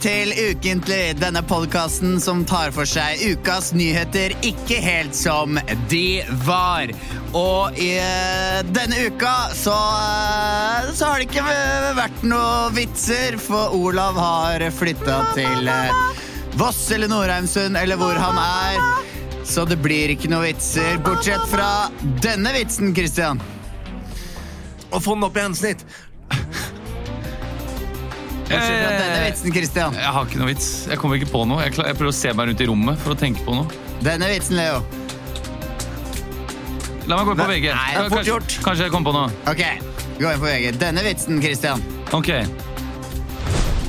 til Ukentlig, denne podkasten som tar for seg ukas nyheter ikke helt som de var. Og i eh, denne uka så, eh, så har det ikke eh, vært noe vitser, for Olav har flytta til eh, Voss eller Norheimsund eller hvor han er. Så det blir ikke noe vitser, bortsett fra denne vitsen, Christian. Og få den opp igjen, snitt. Bortsett fra denne vitsen, Christian. Eh, Jeg har ikke noe vits. Jeg kommer ikke på noe. Jeg, kla- jeg prøver å se meg rundt i rommet for å tenke på noe. Denne vitsen, Leo. La meg gå på Nei, VG. nei, Kan- fort kanskje, gjort. kanskje jeg kommer på noe. Ok, gå inn på VG. Denne vitsen, Christian. Ok.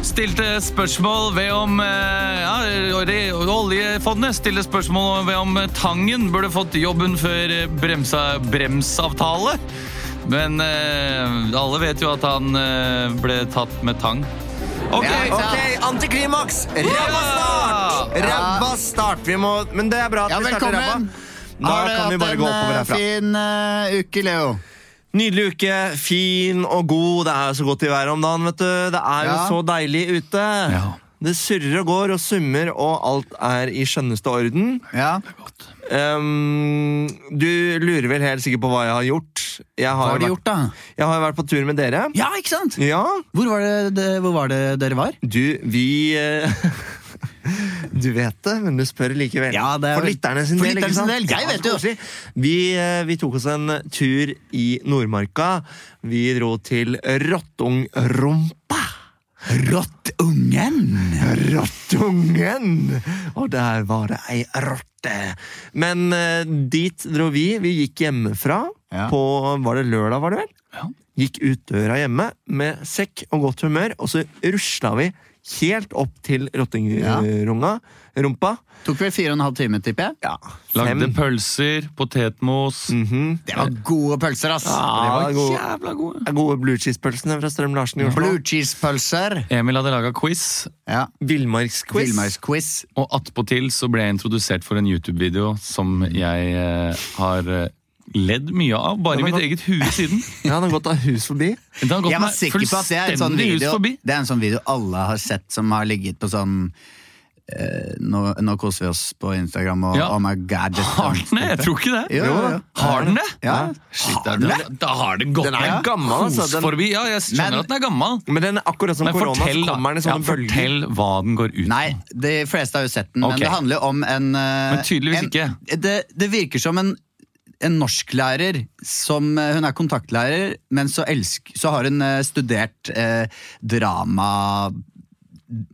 Stilte spørsmål ved om eh, ja, re- Oljefondet stilte spørsmål ved om eh, Tangen burde fått jobben før eh, bremsa, bremsavtale. Men eh, alle vet jo at han eh, ble tatt med tang. Ok, Ja, ikke sant? Ok, antiklimaks! Ræva start! Ræva start! Vi må, men det er bra at Ja, vi starter ræva. velkommen. Da Har du kan vi bare gå oppover hatt en herfra. eh, fin eh, uke, Leo? Nydelig uke, fin og god. Det er jo så godt i været om dagen, vet du. Det er jo Ja. så deilig ute. Ja. Det surrer og går og summer, og alt er i skjønneste orden. Ja. Ehm, du lurer vel helt sikkert på hva jeg har gjort. Jeg har, Hva har du vært- gjort, da? Jeg har jo vært på tur med dere. Ja, ikke sant? Ja, Hvor var det, det, hvor var det dere var? du, vi eh, Du vet det, men du spør likevel. Ja, det er for vel- lytterne sin for del. lytterne ikke sin sant? del, jeg Ja, vet så jo. koselig. Vi, eh, vi tok oss en tur i Nordmarka. Vi dro til Rottungrumpa. Rottungen! Rottungen! Og der var det ei rotte. Men eh, dit dro vi. Vi gikk hjemmefra Ja. på Var det lørdag, var det vel? Ja. Gikk ut døra hjemme med sekk og godt humør, og så rusla vi helt opp til Ja. rottingrunga. Rumpa. Tok vel fire og en halv time, tipper jeg. Ja, Lagde fem. pølser, potetmos. Mhm. Det var gode pølser, ass. Ja, det var gode- jævla gode. Gode blue cheese-pølsene fra Strøm Larsen i Oslo. Blue cheese-pølser. Emil hadde laga quiz, Ja. Villmarksquiz. Villmarksquiz. og attpåtil så ble jeg introdusert for en YouTube-video som jeg eh, har eh, ledd mye av, bare i mitt eget hue siden. Ja, den har gått av hus forbi. Det har gått Jeg var meg sikker på at det er en sånn fullstendig hus video forbi. Det er en sånn video alle har sett som har ligget på sånn eh, nå, nå koser vi oss på Instagram og Ja. oh my god just- Har den det? Jeg tror ikke det. Jo, jo, jo. Har den det? Ja. Shit, det er- da, da har den gått Den er meg gammel, altså. kos Den- forbi. Ja, jeg skjønner Men- at den er gammel. Men den er akkurat som Men korona. fortell, så da. kommer den i Ja, sånne bølger. fortell hva den går ut på. Nei, de fleste har jo sett den, Ok. men det handler jo om en eh, Men tydeligvis en, ikke. Det, det virker som en, en norsklærer som eh, Hun er kontaktlærer, men så, elsk, så har hun eh, studert eh, drama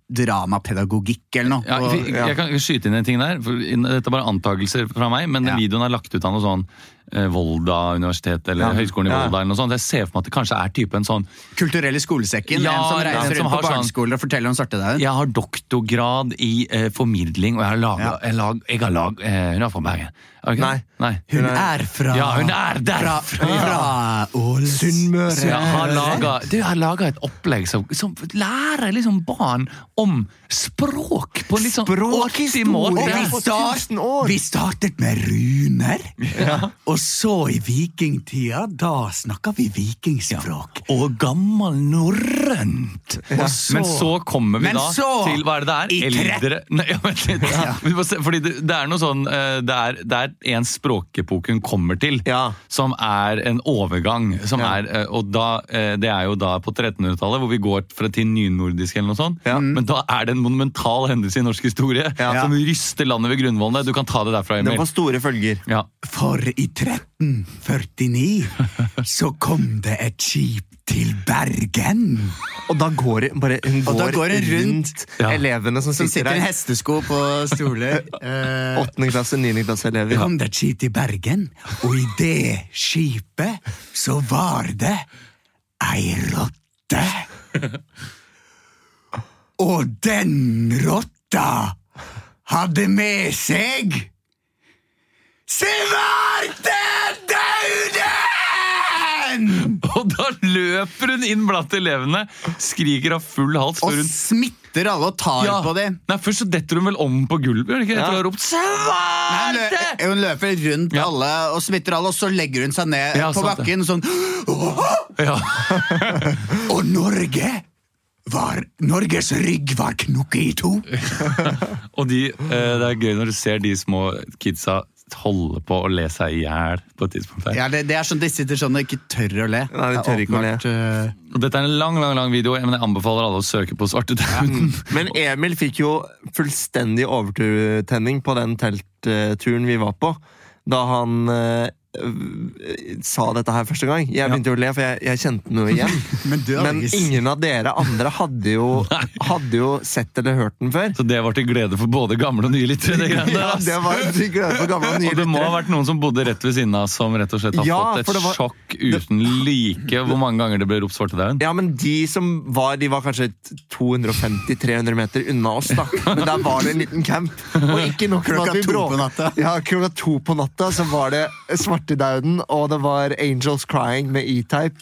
Dramapedagogikk eller noe. Ja, og- jeg, ja. jeg kan skyte inn en ting der. For inn- dette er bare antakelser fra meg, men den Ja. videoen er lagt ut av noe sånn eh, Volda universitet eller Høgskolen i Ja. Volda. eller noe sånt. Jeg ser for meg at det kanskje er typen sånn Kulturell i skolesekken. Ja, en som en reiser som rundt på har sånn- barneskoler og forteller om svartedauden. Jeg har doktorgrad i eh, formidling, og jeg har laga jeg, lag, jeg har lag, eh, Hun er fra Bergen? Er hun ikke det? Nei. Hun er fra Ja, hun er fra, derfra! fra Ålesund. Sunnmøre. Så jeg har laget, du jeg har laga et opplegg som, som lærer liksom barn om språk på en litt sånn artig måte. Og vi, for start, 1000 år. vi startet med runer, og så i vikingtida, da snakka vi vikingspråk. Og gammel norrønt! Men så kommer vi Men da så- til Hva er det det i er? tre- Eldre Nei, ja, vent litt. Vi må se, Fordi det, det er noe sånn eh, Det er, det er en språkepoke hun kommer til, Ja. som er en overgang. Som Ja. er, eh, og da, eh, det er jo da på 1300-tallet, hvor vi går fra til nynordisk eller noe sånt. Mm. Ja. Men da er det en monumental hendelse i norsk historie Ja. som ryster landet ved grunnvollene. Du kan ta det derfra, Den Emil. får store følger. Ja. For i 1349 så kom det et skip til Bergen. Og da går det bare hun går, Og da går det rundt, Ja. elevene som Som sitter, sitter i der. hestesko på stoler. Eh, Åttende klasse, niende klasse elever. kom det et skip til Bergen, og i det skipet så var det ei rotte. Og den rotta hadde med seg svartedauden! Og da løper hun inn blant elevene, skriker av full hals før hun smitter alle og tar Nei, Først så detter hun vel om på gulvet? gjør hun ikke? Etter Ja. å ha ropt Nei, hun, «Svarte!» lø hun løper rundt Ja. alle og smitter alle, og så legger hun seg ned Ja, på sånn, sant det. bakken sånn Ja. Og Norge var Norges rygg var knukket i to. Og de, eh, det er gøy når du ser de små kidsa holde på å le seg i hjel på et tidspunkt. her. Ja, det, det er sånn De sitter sånn og ikke tør å le. Nei, de tør Det er ikke å le. åpenbart, eh, Og Dette er en lang lang, lang video, men jeg anbefaler alle å søke på Svartedauden. Men Emil fikk jo fullstendig overtenning på den teltturen vi var på, da han eh, øh, sa dette her første gang. Jeg begynte jo å le, for jeg, jeg kjente noe igjen. Men du Men Alex. ingen av dere andre hadde jo, hadde jo sett eller hørt den før. Så det var til glede for både gamle og nye lyttere. det greiene der, Ja, ass. det var til glede for gamle og nye Og det må ha lyttere. vært noen som bodde rett ved siden av, som rett og slett har Ja, fått for et det var- sjokk uten like hvor mange ganger det ble ropt Svartedauden. Ja, men de som var, de var kanskje 250-300 meter unna oss, da. Men der var det en liten camp. Og ikke nok med Klokka at vi to på bråka. natta. Ja, klokka to på natta så var det Svartedauden, og det var Angels Crying med E-Type.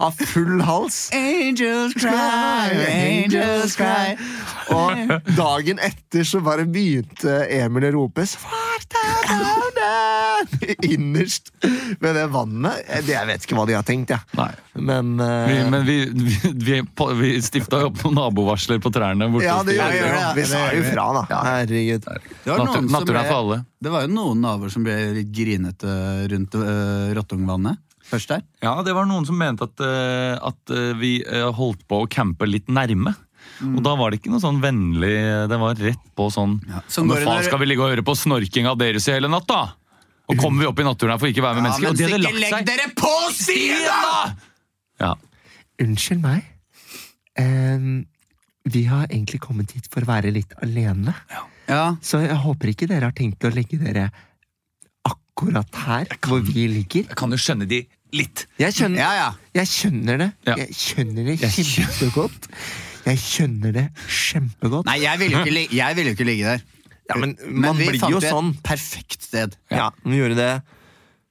Av full hals. Angels cry, angels cry. Og dagen etter så bare begynte Emil å rope Svartedauden! Innerst ved det vannet. Det- Jeg vet ikke hva de har tenkt, jeg. Nei. Men, eh, Vi, men vi, vi, vi, på- vi stifta jo opp noen nabovarsler på trærne. borte Ja, hos det de. gjør Ja, vi. gjør jo. det. Vi sa jo Det gjør vi. fra, da. Herregud. Det var, Natur- noen som natur er ble- for alle. det var jo noen naboer som ble litt grinete rundt uh, Rottungvannet først der. Ja, det var noen som mente at, eh, at eh, vi eh, holdt på å campe litt nærme. Og da var det ikke noe sånn vennlig Det var rett på sånn sånn Men går det faen når- skal vi ligge og høre på snorking av deres i hele natt, da? Og kommer vi opp i naturen her for ikke å være med mennesker? og de hadde lagt seg. dere på siden, Ja. Unnskyld meg. Em, vi har egentlig kommet hit for å være litt alene. Ja, Så jeg håper ikke dere har tenkt å legge dere akkurat her hvor vi ligger. Jeg kan jo skjønne de litt. Jeg skjønner, ja, ja. jeg skjønner det. Ja. Jeg skjønner det Jeg skjø- kjempegodt. Jeg skjønner det kjempegodt. Nei, jeg ville jo ikke, li- jeg ville jo ikke ligge der. Ja, men Men man vi blir fant jo et sånn. perfekt sted. Ja, vi gjorde det.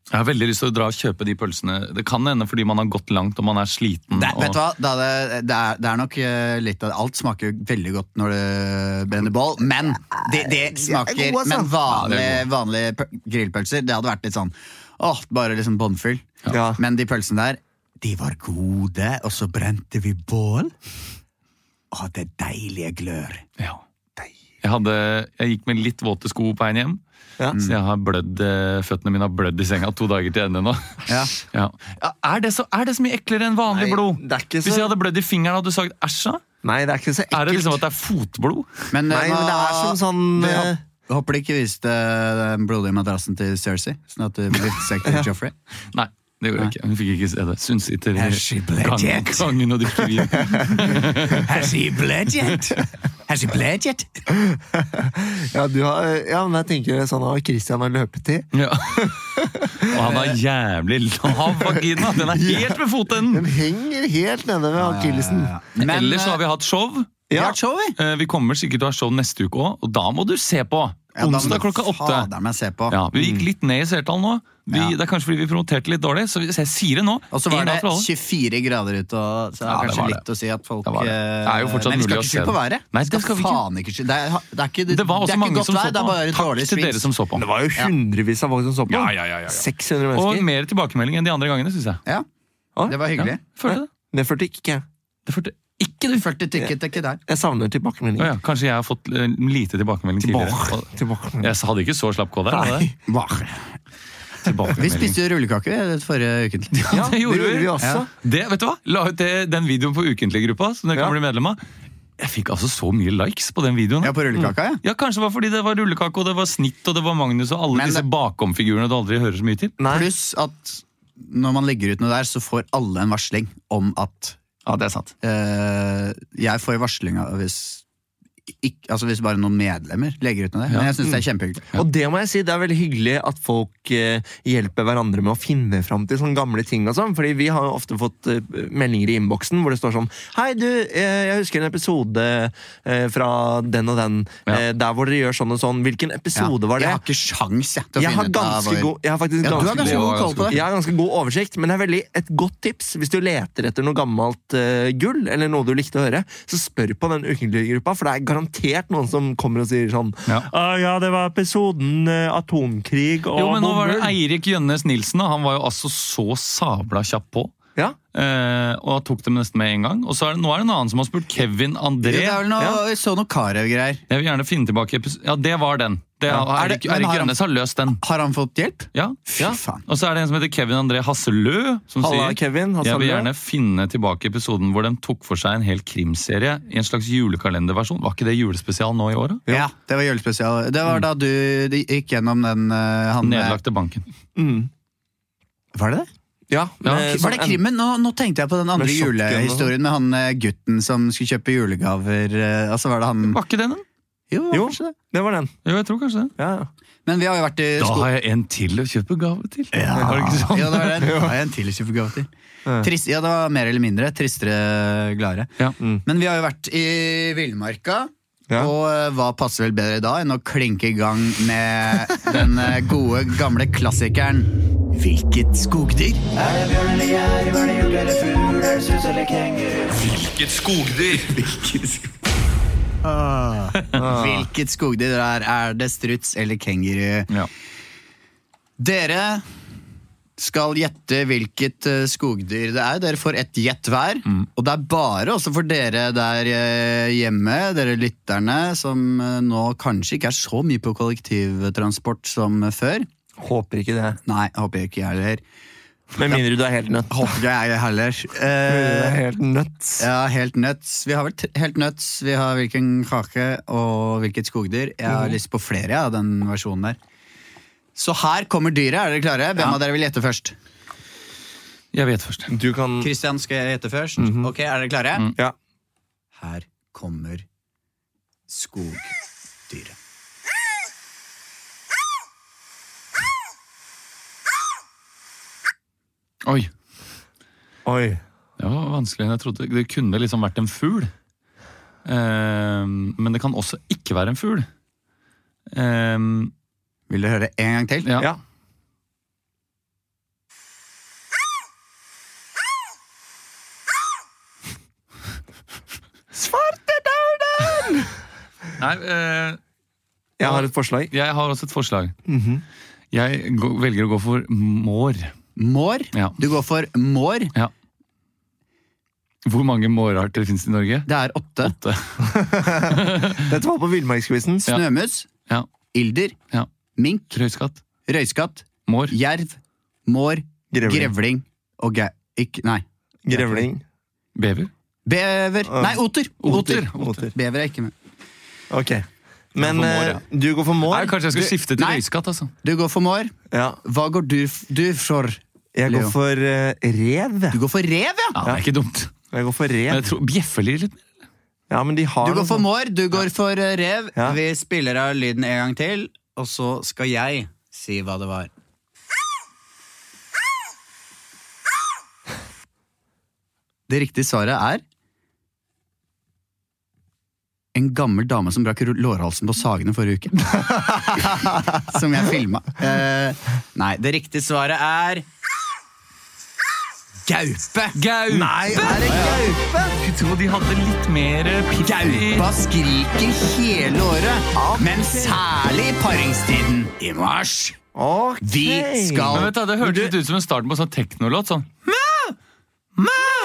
Jeg har veldig lyst til å dra og kjøpe de pølsene. Det kan hende fordi man har gått langt og man er sliten. Det, og... vet du hva? Da er det, det, er, det er nok eh, litt av Alt smaker jo veldig godt når det brenner bål, men det, det De er smaker gode, altså. Men Ja, vanlige, det vanlige pø- grillpølser, det hadde vært litt sånn åh, bare liksom bånnfyll. Ja. Men de pølsene der, de var gode, og så brente vi bål. Å, det deilige glør. Ja. Jeg, hadde, jeg gikk med litt våte sko på veien hjem, Ja. så jeg har blødd, eh, føttene mine har blødd i senga to dager til ende nå. Ja. Ja. Ja, Er, det så, er det så mye eklere enn vanlig Nei, blod? det er ikke Hvis så- jeg hadde blødd i fingeren, hadde du sagt æsj? da? Nei, det er ikke så Er det ekkelt. liksom at det er fotblod? Men, eh, Nei, men det er som sånn, eh, Jeg håper de ikke viste eh, den blodige madrassen til Cersei, sånn at det blir seg til Joffrey. Nei. Det gjorde jeg ikke. Hun fikk ikke se det. Så Hun sitter i Er she gangen, blødget? gangen og drikker vin. Has he bled yet? Has he bled yet? Ja, du har, ja, men jeg tenker sånn at Christian har løpet i. Ja. Og han har jævlig lav vagina! Den er helt ved Den fotenden! henger helt nede ved akillesen. Men, Ellers så eh, har vi hatt show. vi har Ja. hatt show, vi. Eh, Vi kommer sikkert til å ha show neste uke òg, og da må du se på! Onsdag klokka åtte. Fader meg se på. Ja, vi gikk litt ned i seertall nå. Vi, Ja. Det er kanskje fordi vi promoterte litt dårlig. Så vi- så jeg sier det nå. Og så var En det dag for alle. 24 grader ute, og så det er Ja, det kanskje var det. litt å si at folk Det var det. eh, Det er jo fortsatt Nei, vi skal mulig å ikke se skylde på det. været. Nei, det skal vi ikke. faen ikke skylde. Det er, det er ikke, det Det var også er ikke mange godt som så vær, det er på. bare Takk dårlig til svind. dere som så på. Det var jo hundrevis av folk som så på. Ja, ja, ja, ja, ja. 600 Og mennesker. mer tilbakemelding enn de andre gangene, syns jeg. Ja, Å, det var Ja, hyggelig. følte det. Det følte ikke jeg. Det følte ikke du. 40 ticket er ikke der. Jeg savner Å tilbakemeldinger. ja, kanskje jeg har fått eh, lite tilbakemelding tidligere. Og- Tilbakemeldinger. Jeg hadde ikke så slapp kode. hadde jeg? Vi Tilbakemelding. spiste jo rullekake forrige uken. Ja, det gjorde vi Ja. også. Det, vet du hva? La ut det, den videoen på ukentlig gruppa, som dere kan Ja. bli medlem av. Jeg fikk altså så mye likes på den videoen. Ja, på rullekaka, ja. Ja, Kanskje det var fordi det var rullekake, og det var snitt, og det var Magnus og alle Men disse det- bakomfigurene du aldri hører så mye til. Nei. Pluss at når man legger ut noe der, så får alle en varsling om at Ja, det er sant. eh, Jeg får varsling av hvis ikke, altså hvis bare noen medlemmer legger ut noe der. Men jeg syns Mm. det er kjempehyggelig. Og det må jeg si, det er veldig hyggelig at folk eh, hjelper hverandre med å finne fram til sånne gamle ting og sånn, fordi vi har jo ofte fått eh, meldinger i innboksen hvor det står sånn Hei, du, eh, jeg husker en episode eh, fra den og den, Ja. eh, der hvor dere gjør sånn og sånn. Hvilken episode var det? Jeg har ikke sjans jeg, til å Jeg har finne ut av ganske hvor- god Jeg har faktisk Ja, du har ganske ganske god god koll på det. Jeg har ganske god oversikt, men det er veldig et godt tips hvis du leter etter noe gammelt eh, gull, eller noe du likte å høre, så spør på den ukentlige gruppa, for det er garantert noen som kommer og sier sånn Ja. «Ah, ja det var episoden eh, atomkrig og Jo, men nå var det bomull». Eirik Jønnes Nilsen, og han var jo altså så sabla kjapp på. Ja. eh, og tok dem nesten med en gang. Og så er det, nå er det en annen som har spurt. Kevin Det André. er vel noe, Jeg så noe Karev-greier. Jeg vil gjerne finne tilbake epis- Ja, det var den. Det, Ja. Er det- Erik, men Erik har han- Grønnes har løst den. Har han fått hjelp? Ja. Fy Ja. faen. Og så er det en som heter Kevin André Hasselø, som Halla, sier Kevin. Hasse jeg vil Alvdal. gjerne finne tilbake episoden hvor de tok for seg en hel krimserie i en slags julekalenderversjon. Var ikke det julespesial nå i år? Ja, da? det var julespesial. Det Mm. var da du gikk gjennom den eh, han Nedlagte banken. Mm. Var det det? Ja, Ja, med- Var det Eh, som en- krimmen? Nå, nå tenkte jeg på den Med andre shotgun og- julehistorien med han eh, gutten som skulle kjøpe julegaver. eh, Altså var det han Var ikke det den? Jo, det var Jo. kanskje det. Det var den. Jo, jeg tror kanskje det. Ja, ja. Men vi har jo vært i Da sko- har jeg en til å kjøpe gave til. Ja, Var det ikke sånn? ja, det var det. Har jeg en til å kjøpe gave til? Ja. Trist, ja, det var mer eller mindre. Tristere, gladere. Ja. Mm. Men vi har jo vært i villmarka. Ja. Og eh, hva passer vel bedre da enn å klinke i gang med den eh, gode, gamle klassikeren Hvilket skogdyr? Er det bjørn eller gjær, var det hjort eller fugl, er det sus eller kenguru? Hvilket skogdyr! Ah. Ah. Hvilket skogdyr det er? Er det struts eller kenguru? Ja. Dere skal gjette hvilket eh, skogdyr det er. Dere får ett gjett hver. Og det er bare også for dere der eh, hjemme, dere lytterne, som eh, nå kanskje ikke er så mye på kollektivtransport som eh, før. Håper ikke det. Nei, håper jeg ikke jeg heller. Med mindre du er helt nødt. Håper ikke jeg heller. Du er Eh, helt nødt. ja, helt nuts. Vi har vel t- helt nuts. Vi har hvilken kake og hvilket skogdyr. Jeg har lyst på flere av den versjonen der. Så her kommer dyret. Er dere klare? Hvem av dere vil gjette først? Jeg vet først. Du kan Kristian skal jeg gjette først. Ok, Er dere klare? Ja. Her kommer skogdyret. Oi, Oi. det var vanskeligere enn jeg trodde. Det kunne liksom vært en fugl. Eh, men det kan også ikke være en fugl. Eh, Vil du høre en gang til? ja. Ja. Nei, eh, Jeg har et forslag. jeg har også et forslag. Mhm. Jeg gå- velger å gå for mår. Mår. Ja. Du går for mår. Hvor mange mårarter finnes det i Norge? Det er åtte. Åtte. Dette var på Villmarksquizen. Snømus. Ja. Ilder. Ja. Mink. Røyskatt. Røyskatt. Mår. Jerv. Mår. Grevling. Grevling. Og ge... Ikke, nei. Grevling. Bever. Bever. Ah. Nei, oter. Oter. Oter. Bever er ikke med. Ok. Men Jeg går for mår, eh, du går for Nei, mår. kanskje jeg skulle skifte til Nei. røyskatt, altså. Du går for mår. Ja. Hva går du, f- du for? Jeg går Leo. for eh, rev. Du går for rev, ja! Ja, det er ikke dumt. Jeg går for Men rev. jeg tror, bjeffer de litt? Ja, men de har Du går noe sånn- for sånt. mår, du går for eh, rev. Ja. Vi spiller av lyden en gang til, og så skal jeg si hva det var. Det riktige svaret er en gammel dame som brakk lårhalsen på Sagene forrige uke. som jeg filma. Eh, nei, det riktige svaret er Gaupe! Gaupe! Nei, er det gaupe? Jeg tror de hadde litt mer piff i Gaupa skriker hele året, men særlig i paringstiden i mars. Ok. Vi skal- Men vet du, Det hørtes litt ut som en starten på en sånn teknolåt. Sånn.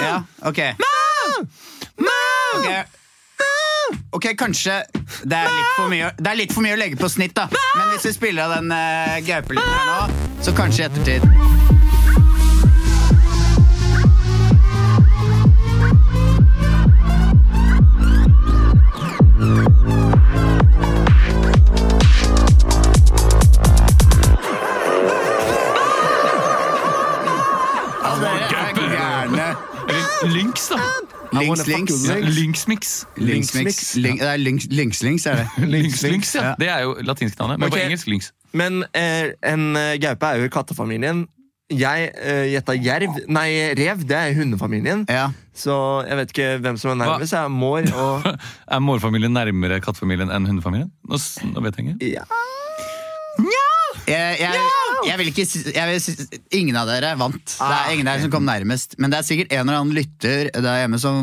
Ja, ok. Ok. Ok, kanskje det er, litt for mye, å- det er litt for mye å legge på snitt, da. Men hvis vi spiller av den uh, gaupelyden her nå, så kanskje i ettertid. Ja, dere er gærne. Eller Lynx, da. Links, links. Ja, Lynx-mix. Linksmix. Link, det er links, links, links, er det. Lynx, ja. Ja. Det er jo latinsknavnet. Men Ok. på engelsk Lynx. Men eh, en eh, gaupe er jo i kattefamilien. Jeg eh, gjetta jerv. Nei, rev. Det er i hundefamilien. Ja. Så jeg vet ikke hvem som er nærmest. Jeg er mår og Er mårfamilien nærmere kattefamilien enn hundefamilien? Nå, s- nå vet jeg ikke. ja. Jeg, jeg, jeg vil ikke si- jeg vil si- Ingen av dere vant. Det er ingen av dere som kom nærmest. Men det er sikkert en eller annen lytter der hjemme som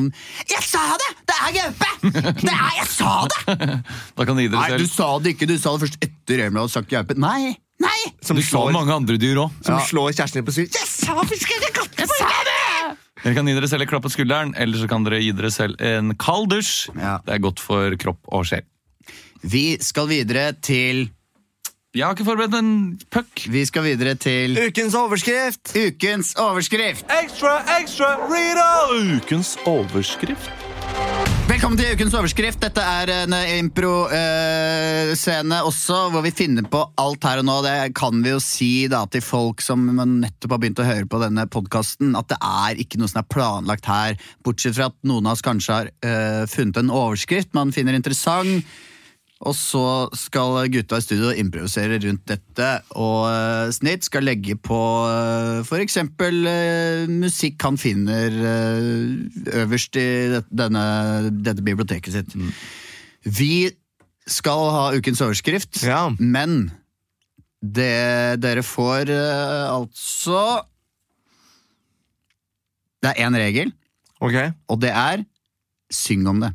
Jeg sa det! Det er gaupe! Det er, jeg sa det! Da kan de gi dere Nei, du selv. sa det ikke. Du sa det først etter Emil hadde sagt gaupe. Nei! Nei! Som, Du sa slår, mange andre dyr òg. som Ja. slår kjæresten din på syv. Jeg sa vi skulle katte på det! Dere kan gi dere selv et klapp på skulderen, eller så kan dere gi dere selv en kald dusj. Ja. Det er godt for kropp og sjel. Vi skal videre til Jeg har ikke forberedt en puck. Vi skal videre til Ukens overskrift! ukens overskrift. Ekstra, ekstra, Rita! Ukens overskrift. Velkommen til ukens overskrift. Dette er en eh, impro-scene også, hvor vi finner på alt her og nå. Det kan vi jo si da til folk som nettopp har begynt å høre på denne podkasten, at det er ikke noe som er planlagt her, bortsett fra at noen av oss kanskje har eh, funnet en overskrift man finner interessant. Og så skal gutta i studio improvisere rundt dette, og eh, Snitt skal legge på eh, for eksempel eh, musikk han finner eh, øverst i det- denne, dette biblioteket sitt. Vi skal ha ukens overskrift, Ja. men det, dere får eh, altså Det er én regel, Ok. og det er syng om det.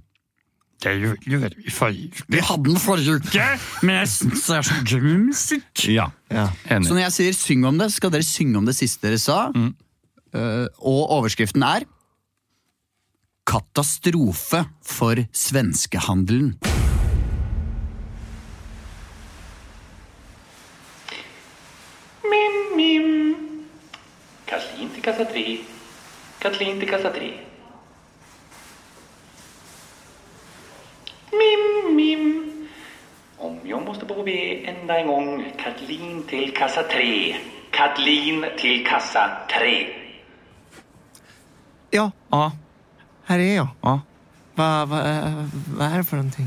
Det er jo veldig, veldig farlig. Vi hadde den forrige uke! Men jeg syns det er så gøy med musikk. Ja, Ja. enig. Så når jeg sier syng om det, så skal dere synge om det siste dere sa. Eh, og overskriften er Katastrofe for svenskehandelen. Mim, mim. Kathleen till kassa 3. Kathleen till kassa 3. Mim, mim. Om jag måste bo B ända en gång. Kathleen till kassa 3. Kathleen till kassa 3. ja, Ah, her er jeg, ja. ah. Hva, hva, eh, hva er det for en ting?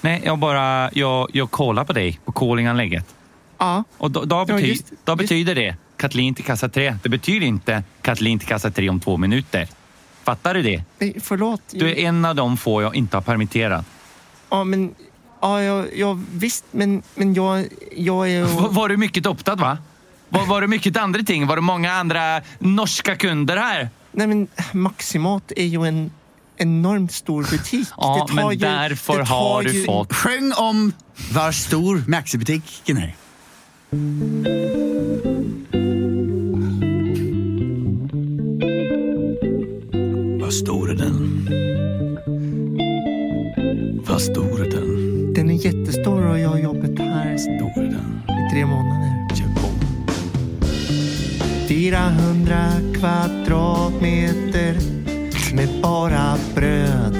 Nej, jag bara, jag, jag kollar på dig på callinganlägget. Ja. Och då, då, bety, just- då just- betyder det Kathleen till kassa 3. Det betyder inte Kathleen till kassa 3 om två minuter. Fattar du det? Nei, forlåt. Du är en av de få jag inte har permitterat. Ja, men Ja, jag, jag, visst, men, men jag, jag är Var, ju... var du mycket upptatt va? Var, var det mycket andra ting? Var det många andra norska kunder här? Nej, men Maximat är ju en enormt stor butik. Ja, Det tar men ju- därför det tar har ju- du fått... Syng om hver stor Maxi-butikken er. Vad stor är den? Vad stor är den? Den är jättestor och jag har jobbat här Stor är den? i tre månader. Kör på. 400 kvadratmeter med bara bröd.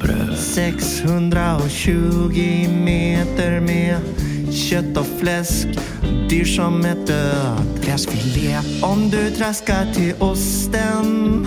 Bröd. 620 meter med kött och fläsk. Dyr som ett död. Gressfilet. Om du traskar till osten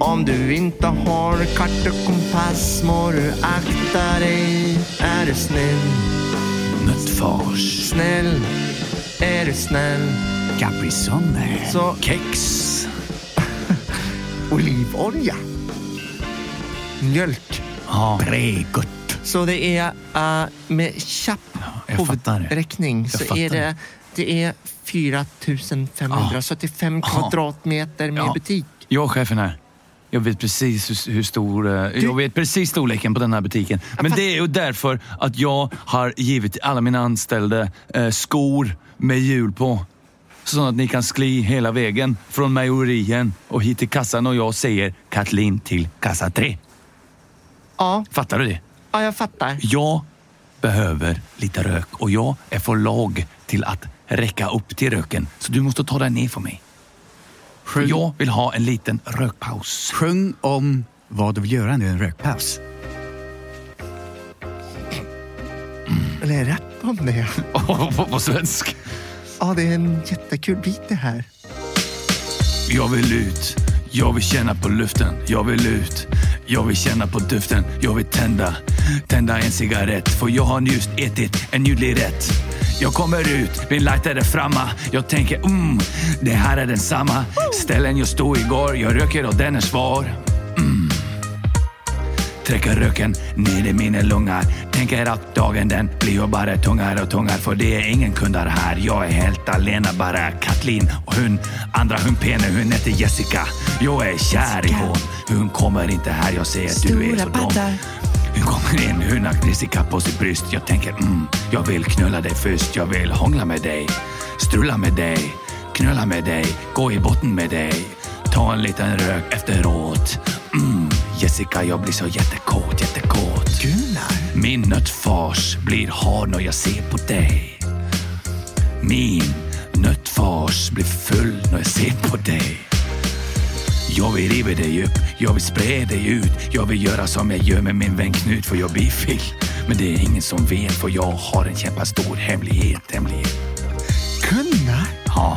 Om du inte har kart och kompass må du akta dig. Är du snäll, Nötfars. snäll, är du snäll. Caprisonne. Så Kex. olivolja, mjölk. Ja, Pregodt. Så det är äh, med kjapp jag fattar det. huvudräkning så fattar är det, det. det är 4575 kvadratmeter med Ah. Ja. butik. jag och chefen här. Jag vet precis hur, hur stor... eh, Jag vet precis storleken på den här butiken. Men det är ju därför att jag har givit alla mina anställda eh, skor med hjul på. Så att ni kan skli hela vägen från majorien och hit till kassan och jag säger Katlin till kassa 3. Ja, Fattar du det? ja jag fattar. Jag behöver lite rök och jag är för låg till att räcka upp till röken. Så du måste ta dig ner för mig. För jag vill ha en liten rökpaus. Syng om hva du vil gjøre under en røykpause. Eller är jag rätt om det? på, på svensk. Ja, det är en jättekul bit det här. Jag vill ut. Jag vill känna på luften. Jag vill ut. Jag vill känna på duften. Jag vill tända. Tända en cigarett. För jag har just ätit en ljudlig rätt. Jag kommer ut, min lighter är framme. Jag tänker mm, det här är densamma. Ställen jag stod igår, jag röker och den är svar. Trekker røken ned i mine lunger. Tenker at dagen den blir jo bare tungere og tungere, for det er ingen kunder her. Jeg er helt alene, bare Katlin og hun andre, hun pene, hun heter Jessica. Jeg er kjær i henne. Hun kommer ikke her, jeg ser du er så dum. Hun kommer inn, hun har knissika på sitt bryst. Jeg tenker mm, jeg vil knulla deg først. Jeg vil hångla med deg, strulla med deg, knulla med deg, gå i botten med deg. Ta en liten røk efteråt. Mm, Jessica, jeg blir så jättekåt, jättekåt. Min nøttfars blir hard når jeg ser på deg. Min nøttfars blir full når jeg ser på deg. Jeg vil rive deg opp, jeg vil spre deg ut. Jeg vil gjøre som jeg gjør med min venn Knut, for jeg er bifil. Men det er ingen som vet, for jeg har en kjempestor hemmelighet. hemmelighet. Gunnar? Ja.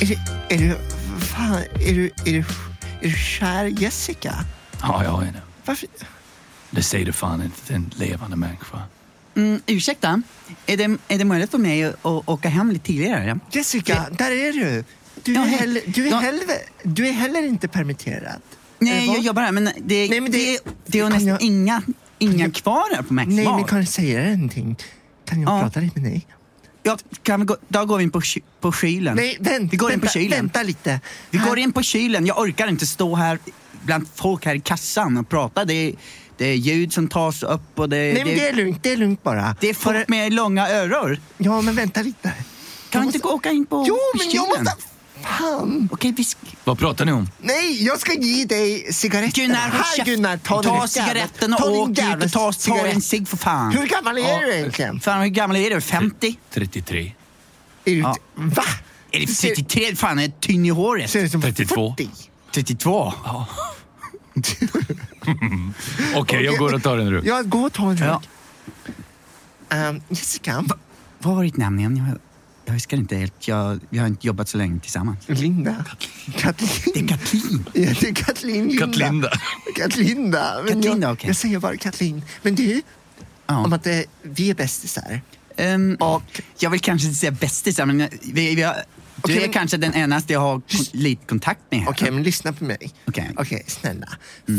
Er, du- er du Faen, er du, er du, er du kjær Jessica? ja, jeg har henne. Varför? Det sier du faen ikke til en levende menneske. Mm, ursäkta, är det, är det möjligt för mig att att åka hem lite tidigare? Jessica, där är du! Du Ja, är, hej. heller, du, är Ja. heller, du är heller inte permitterad. Nej, Eller vad? jag jobbar här, men det, Nej, men det- det, det, är ju kan nästan jag- inga, inga kvar här på Max Nej, Bar. men kan jag säga dig någonting? Kan jag Ja. prata lite med dig? ja, kan vi gå, då går vi in på, ky- på kylen. Nej, vänt, vi går in på vänta, kylen. vänta lite. Vi Här- går in på kylen. Jag orkar inte stå här bland folk här i kassan och prata. Det är, det är ljud som tas upp och det, Nej, men det är lugnt. Det är lugnt bara. det är folk Bara- med långa öron. Ja, men vänta lite. Kan Jag vi måste- inte gå- åka in på Jo, på men kylen? jag måste... Fan! Okej, vi sk- Hva prater ni om? Nej, jag ska ge dig cigaretterna. Gunnar, håll Här käft. Gunnar, ta, den här ta jävla- cigaretten och ta din åk ut jävla och ta, ta cigarett. en cigg för fan. Hur gammal är du egentligen? Fan, hur gammal är du? 50? 33. Är du... Ja. Va? Är det Du ser- 33? Fan, är tynn i håret? Ser ut som 32. 40. 32? Ok, jeg går og tar en rød. Ja, gå och ta en rök. Ja. Ehm, Jessica, Vad var ditt namn igen? Jag, jag huskar inte helt. Jag, vi har inte jobbat så länge tillsammans. Linda. Katlin. Det är Katlin. Ja, det är Katlin Linda. Katlinda. Katlinda. Men Katlinda, jag, okej. jag säger bara Katlin. Men du, Ja. om att eh, vi är bästisar. Ehm, Och jag vill kanske inte säga bästisar, men vi, vi har, du Okej, är men- kanske den enaste jag har kon- lite kontakt med här. Okej, men lyssna på mig. Okej. snälla.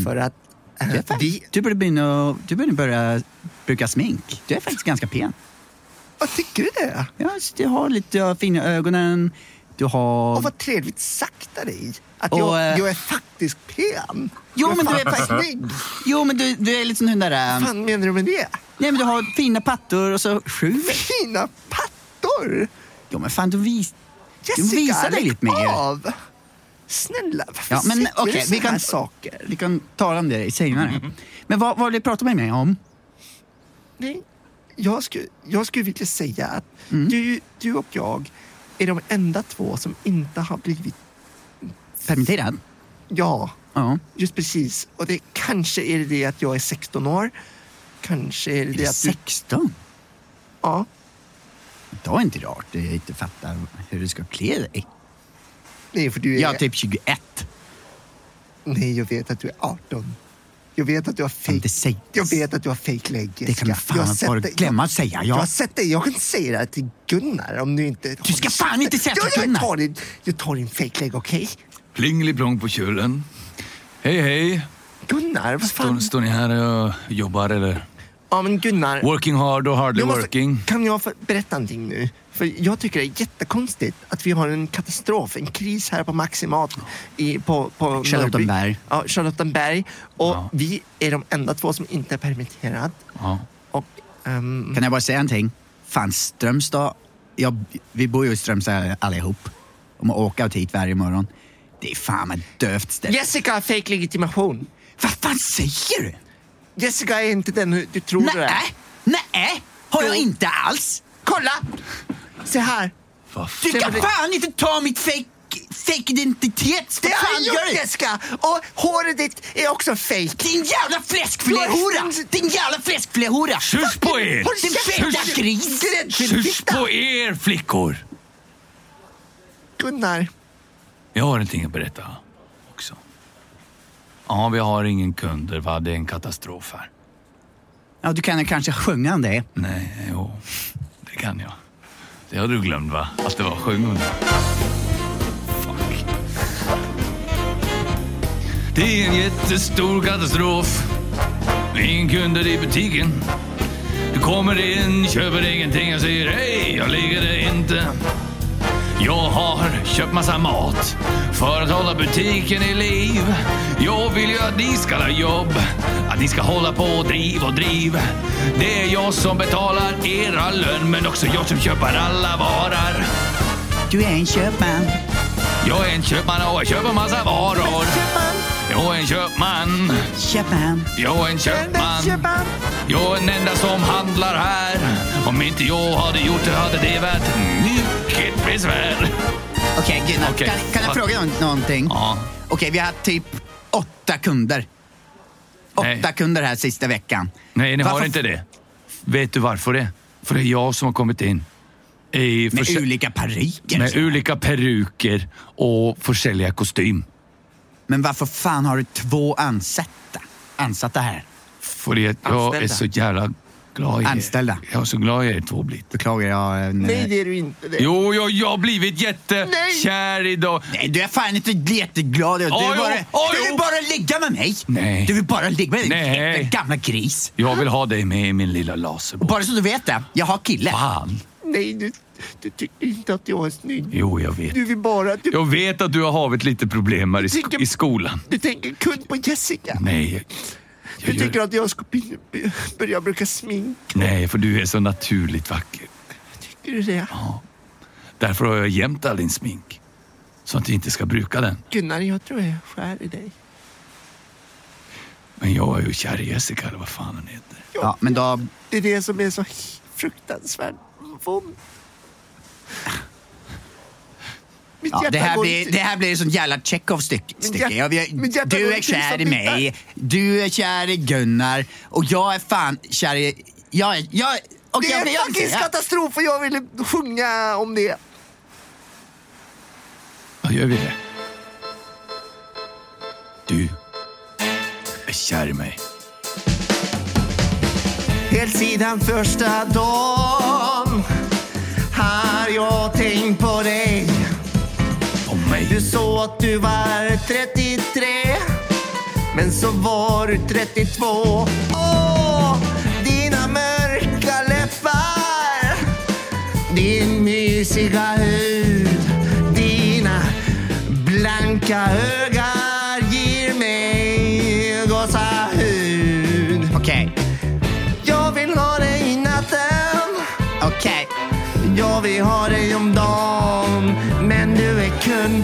För att eh, Du, Mm. är fan- vi... du borde börja, du borde börja bruka smink. Du är faktiskt ganska pen. Vad tycker du det? Ja, så du har lite du har fina ögonen, du har... Och vad trevligt sagt av dig. Att Och, jag, eh, jag är faktiskt pen. Jo, jag men du är faktiskt fan- snygg. Jo, men du, du är lite som den där... Vad ehm, fan menar du med det? Nej, men du har fina pattor och så sju. Fina pattor! Jo, men fan, du vis... Du Jessica, visar dig lägg lite mer. av! Snälla, varför Ja, men sitter du okej, så vi kan- här saker? Mhm. Vi kan tala om det senare. Men vad, vad vill du prata med mig om? Nej, jag, skulle, jag skulle vilja säga att Mm. du, du och jag är de enda två som inte har blivit Permitterad? ja. Ja. Just precis. Och det kanske är det det att jag är 16 år. Kanske är det det Det är att du... 16? Ja. Det är inte rart. Jag inte fattar hur du ska klä dig. Nej, för du är... Jag är typ 21. Nej, jag vet att du är 18. Jag vet att du har Kan fake... inte säga. Jag vet att du har fake leg, Det kan du Jessica. Jag har fan sett bara dig- glömma att säga. Jag har Jag, sett dig. Jag kan inte säga det här till Gunnar om du inte... du ska fan inte säga jag, till jag, Gunnar! tar din, jag tar din fake leg, okej? Plingeliplong på kjølen. Hei, hei. Gunnar, vad Står, fan? står ni her og jobber, eller? Ja, men Gunnar. Working hard och hardly jag måste- working. Kan jag få berätta någonting nu? För jag tycker det är jättekonstigt att vi har en katastrof, en kris här på Maximat i, på, på Charlottenberg. Norrby. Ja, Charlottenberg. Och Ja. vi är de enda två som inte är permitterad. Ja. Och, ehm, Kan jag bara säga en ting? Fan, Strömstad. Jag, vi bor ju i Strömstad allihop. Om att åka ut hit varje morgon. Det är fan ett dövt ställe. Jessica har fake legitimation. Vad fan säger du? Jessica är inte den du tror du är. Nej, nej, har jag inte alls. Kolla! Se här. Hva Du faen? kan fan inte ta mitt fake, fake identitet. Det Vad har fan jag gör gjort du? Jessica! Och håret ditt är också fake. Din jävla fläskfiléhora! Din jävla fläskfiléhora! Kyss på er! Din feta gris! Kyss på er, flickor! Gunnar. Jag har någonting att berätta också. Ja, vi har ingen kunder, va? Det är en katastrof här. Ja, du kan ju kanske sjunga om det. Nej, jo. Det kan jag. Det har du glömt, va? Att det var sjung om det. Fuck. Det är en jättestor katastrof. Ingen kunder i butikken. Du kommer inn, kjøper ingenting og sier hei, jeg liker det inte. Jag har köpt massa mat för att hålla butiken i liv. Jag vill ju att ni ska ha jobb, att ni ska hålla på och driv och driv. Det är jag som betalar era lön, men också jag som köper alla varor. Du er en kjøpmann. Jag är en köpman och jag köper massa varor. Kjøpmann, Jag är en köpman, kjøpmann, jag är en köpman. Jag är den enda som handlar här. Om inte jag hade gjort det hade det varit mycket besvär. Ok, Gunnar, Ok. kan, kan jeg fråga noen, noen ting? Ja. Ok, vi har hatt typ åtta kunder. Åtta Nej. kunder her siste veckan. Nej, ni har Varför- inte det. Vet du varför det? För det är jag som har kommit in. I Med försä- ulike parykker. med olika peruker och försälja kostym. Men varför fan har du två ansatta? Ansatta här? För det, jag är Anställda. så jävla glad i er. Anställda. Jag är så glad i er två blivit. Beklagar jag. eh, Nej, det är du inte. Det. Jo, jag, jag har blivit jättekär idag. Nej, du är fan inte jätteglad. Du, Ja, vill jo. bara, Ja, du jo. vill bara ligga med mig. Nej. Du vill bara ligga med Nej. din jävla gamla gris. Jag vill ha dig med i min lilla laserboll. Bara så du vet det, jag har kille. Fan! Nej, du, du tycker inte att jag är snygg. Jo, jag vet. Du vill bara att du, Jag vet att du har haft lite problem här i, sk Tycker- i skolan. du tänker kun på Jessica. Nej. Du Jag tycker gör, att jag ska by- by- börja bruka smink. nej, för du är så naturligt vacker. Tycker du det? Därför har jag gömt all din smink. Så att du inte ska bruka den. Gunnar, jag tror jag skär i dig. Men jag är ju kär i Jessica, eller vad fan hon heter. Ja, men då... Det är det som är så fruktansvärt vondt. Mitt Ja, hjärta det, här går blir, inte- det här blir sånt jävla Men Tjechov-stycke. hjär- Jag, men jag, hjärtat du går sånn är inte kär i som mig, du är kär i Gunnar och jag är fan kär i... Jag är... Jag, och Det jag, är jag, en jag, fucking katastrof och jag ville sjunga om det. Ja, gör vi det? Du är kär i mig. Helt sedan första dagen har jag tänkt på dig. Om mig. Du sa att du var 33, men så var du 32. Åh, dina mörka läppar, din mysiga hud, dina blanka ögon ger mig gåshud. Okej, Jag vill ha dig i natten. okej. Jag vill ha dig om dagen Men du är kun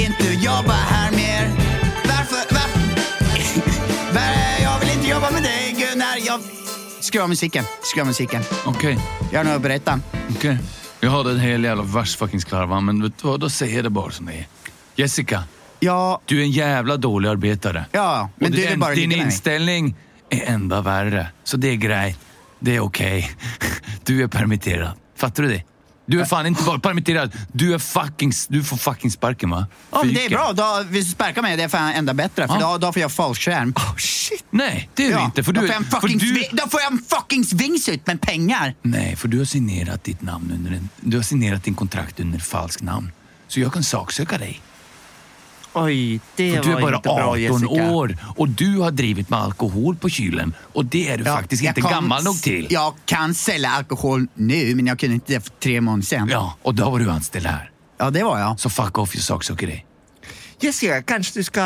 inte jobba här mer. Varför? Va? Va- jag vill inte jobba med dig Gunnar. Jag... Skru av musiken. Skru av musiken. Okej, Jag har något att berätta. okej. Jag hade en hel jävla värst fucking slarva, men vet du vad? Då säger jag det bara som det är. Jessica, Ja, du är en jävla dålig arbetare. ja. Men Och du vill den- bara Din ligga med mig. inställning är enda värre. Så det är grej. Det är okej. Du är permitterad. Fattar du det? Du är fan inte bara permitterad. Du är fucking... Du får fucking sparken va? Ja, men det är Fyken. bra. Då, hvis du sparkar mig, det är fan ända bättre. För Ja. då, då får jag fallskärm. Nej, det är du Ja, inte. För du, då, är- får jag en för fucking du, svi- då får jag en fucking swingsuit med pengar. Nej, för du har signerat ditt namn under en... Du har signerat din kontrakt under falskt namn. Så jag kan saksöka dig. Oj, det För du är bara 18 Jessica. år och du har drivit med alkohol på kylen. Och det är du faktiskt jag inte kan- gammal nog till. Jag kan sälja alkohol nu, men jag kunde inte det för tre månader sedan. Ja, ja, och då var du anställd här. det var jag. Så fuck off, jag saksöker dig. Jessica, kanske du ska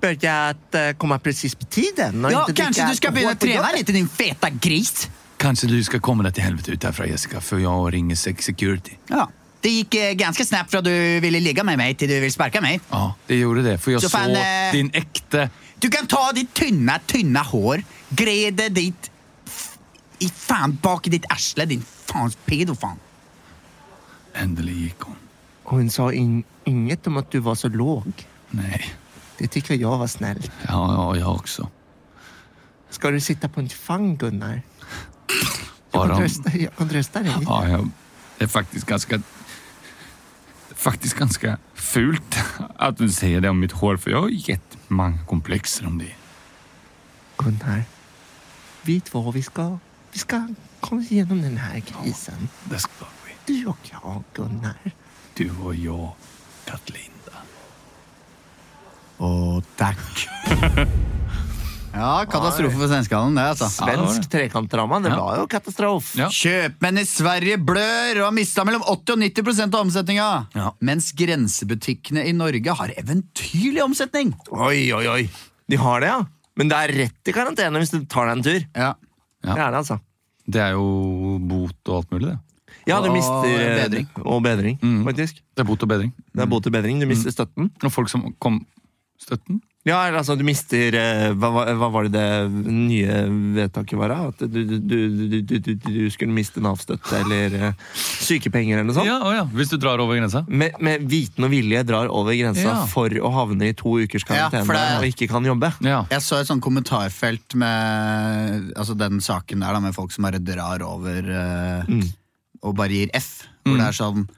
börja att eh, komma precis på tiden? och Ja, inte kanske dricka du ska börja alkohol på träna jobbet. lite din feta gris. Kanske du ska komma dig till helvete ut härifrån Jessica, för jag ringer Sex Security. Ja. Det gick eh, ganska snabbt från du ville ligga med mig till du ville sparka mig. Ja, det gjorde det. För jag Så såg fan, eh, din äkta... Du kan ta ditt tynna, tynna hår, greda dit i fan bak i ditt arsle, din fans pedofan. Äntligen gick hon. Hon sa in, inget om att du var så låg. Nej. Det tycker jag var snällt. Ja, ja, jag också. Ska du sitta på en fang, Gunnar? Jag Bara kan om... trösta, jag kan trösta dig. Ja, jag är faktiskt ganska faktiskt ganska fult att du säger det om mitt hår, för jag har jättemånga komplexer om det. Gunn her. Vet hva vi skal Vi skal komme oss gjennom denne krisen. Det ska vi. Du og jeg, Gunnar. Du och jag, Katlinda. Og takk. ja, katastrofe for svenskene, det, altså. Svensk trekantdrama. Det Ja. var jo katastrofe. Ja. Kjøpmenn i Sverige blør og har mista mellom 80 og 90 av omsetninga. Ja. Mens grensebutikkene i Norge har eventyrlig omsetning. Oi, oi, oi. De har det, ja. Men det er rett i karantene hvis du tar deg en tur. Ja. Ja. Det er det, altså. Det er jo bot og alt mulig, det. Ja, du Og mister eh, bedring. Og bedring, Mm. faktisk. Det er bot og bedring. Det er bot og bedring. Du mister støtten. Og folk som kom Støtten? Ja, eller altså, du mister eh, hva, var- hva var det det nye vedtaket var? da? At du, du, du, du, du, du, du skulle miste Nav-støtte eller eh, sykepenger eller noe sånt? Ja, å ja, hvis du drar over grensa. Med, med viten og vilje drar over grensa Ja. for å havne i to ukers Ja, for karantene det- og ikke kan jobbe. Ja. Jeg så et sånt kommentarfelt med altså den saken der da, med folk som bare drar over eh, og bare gir F. Hvor det er sånn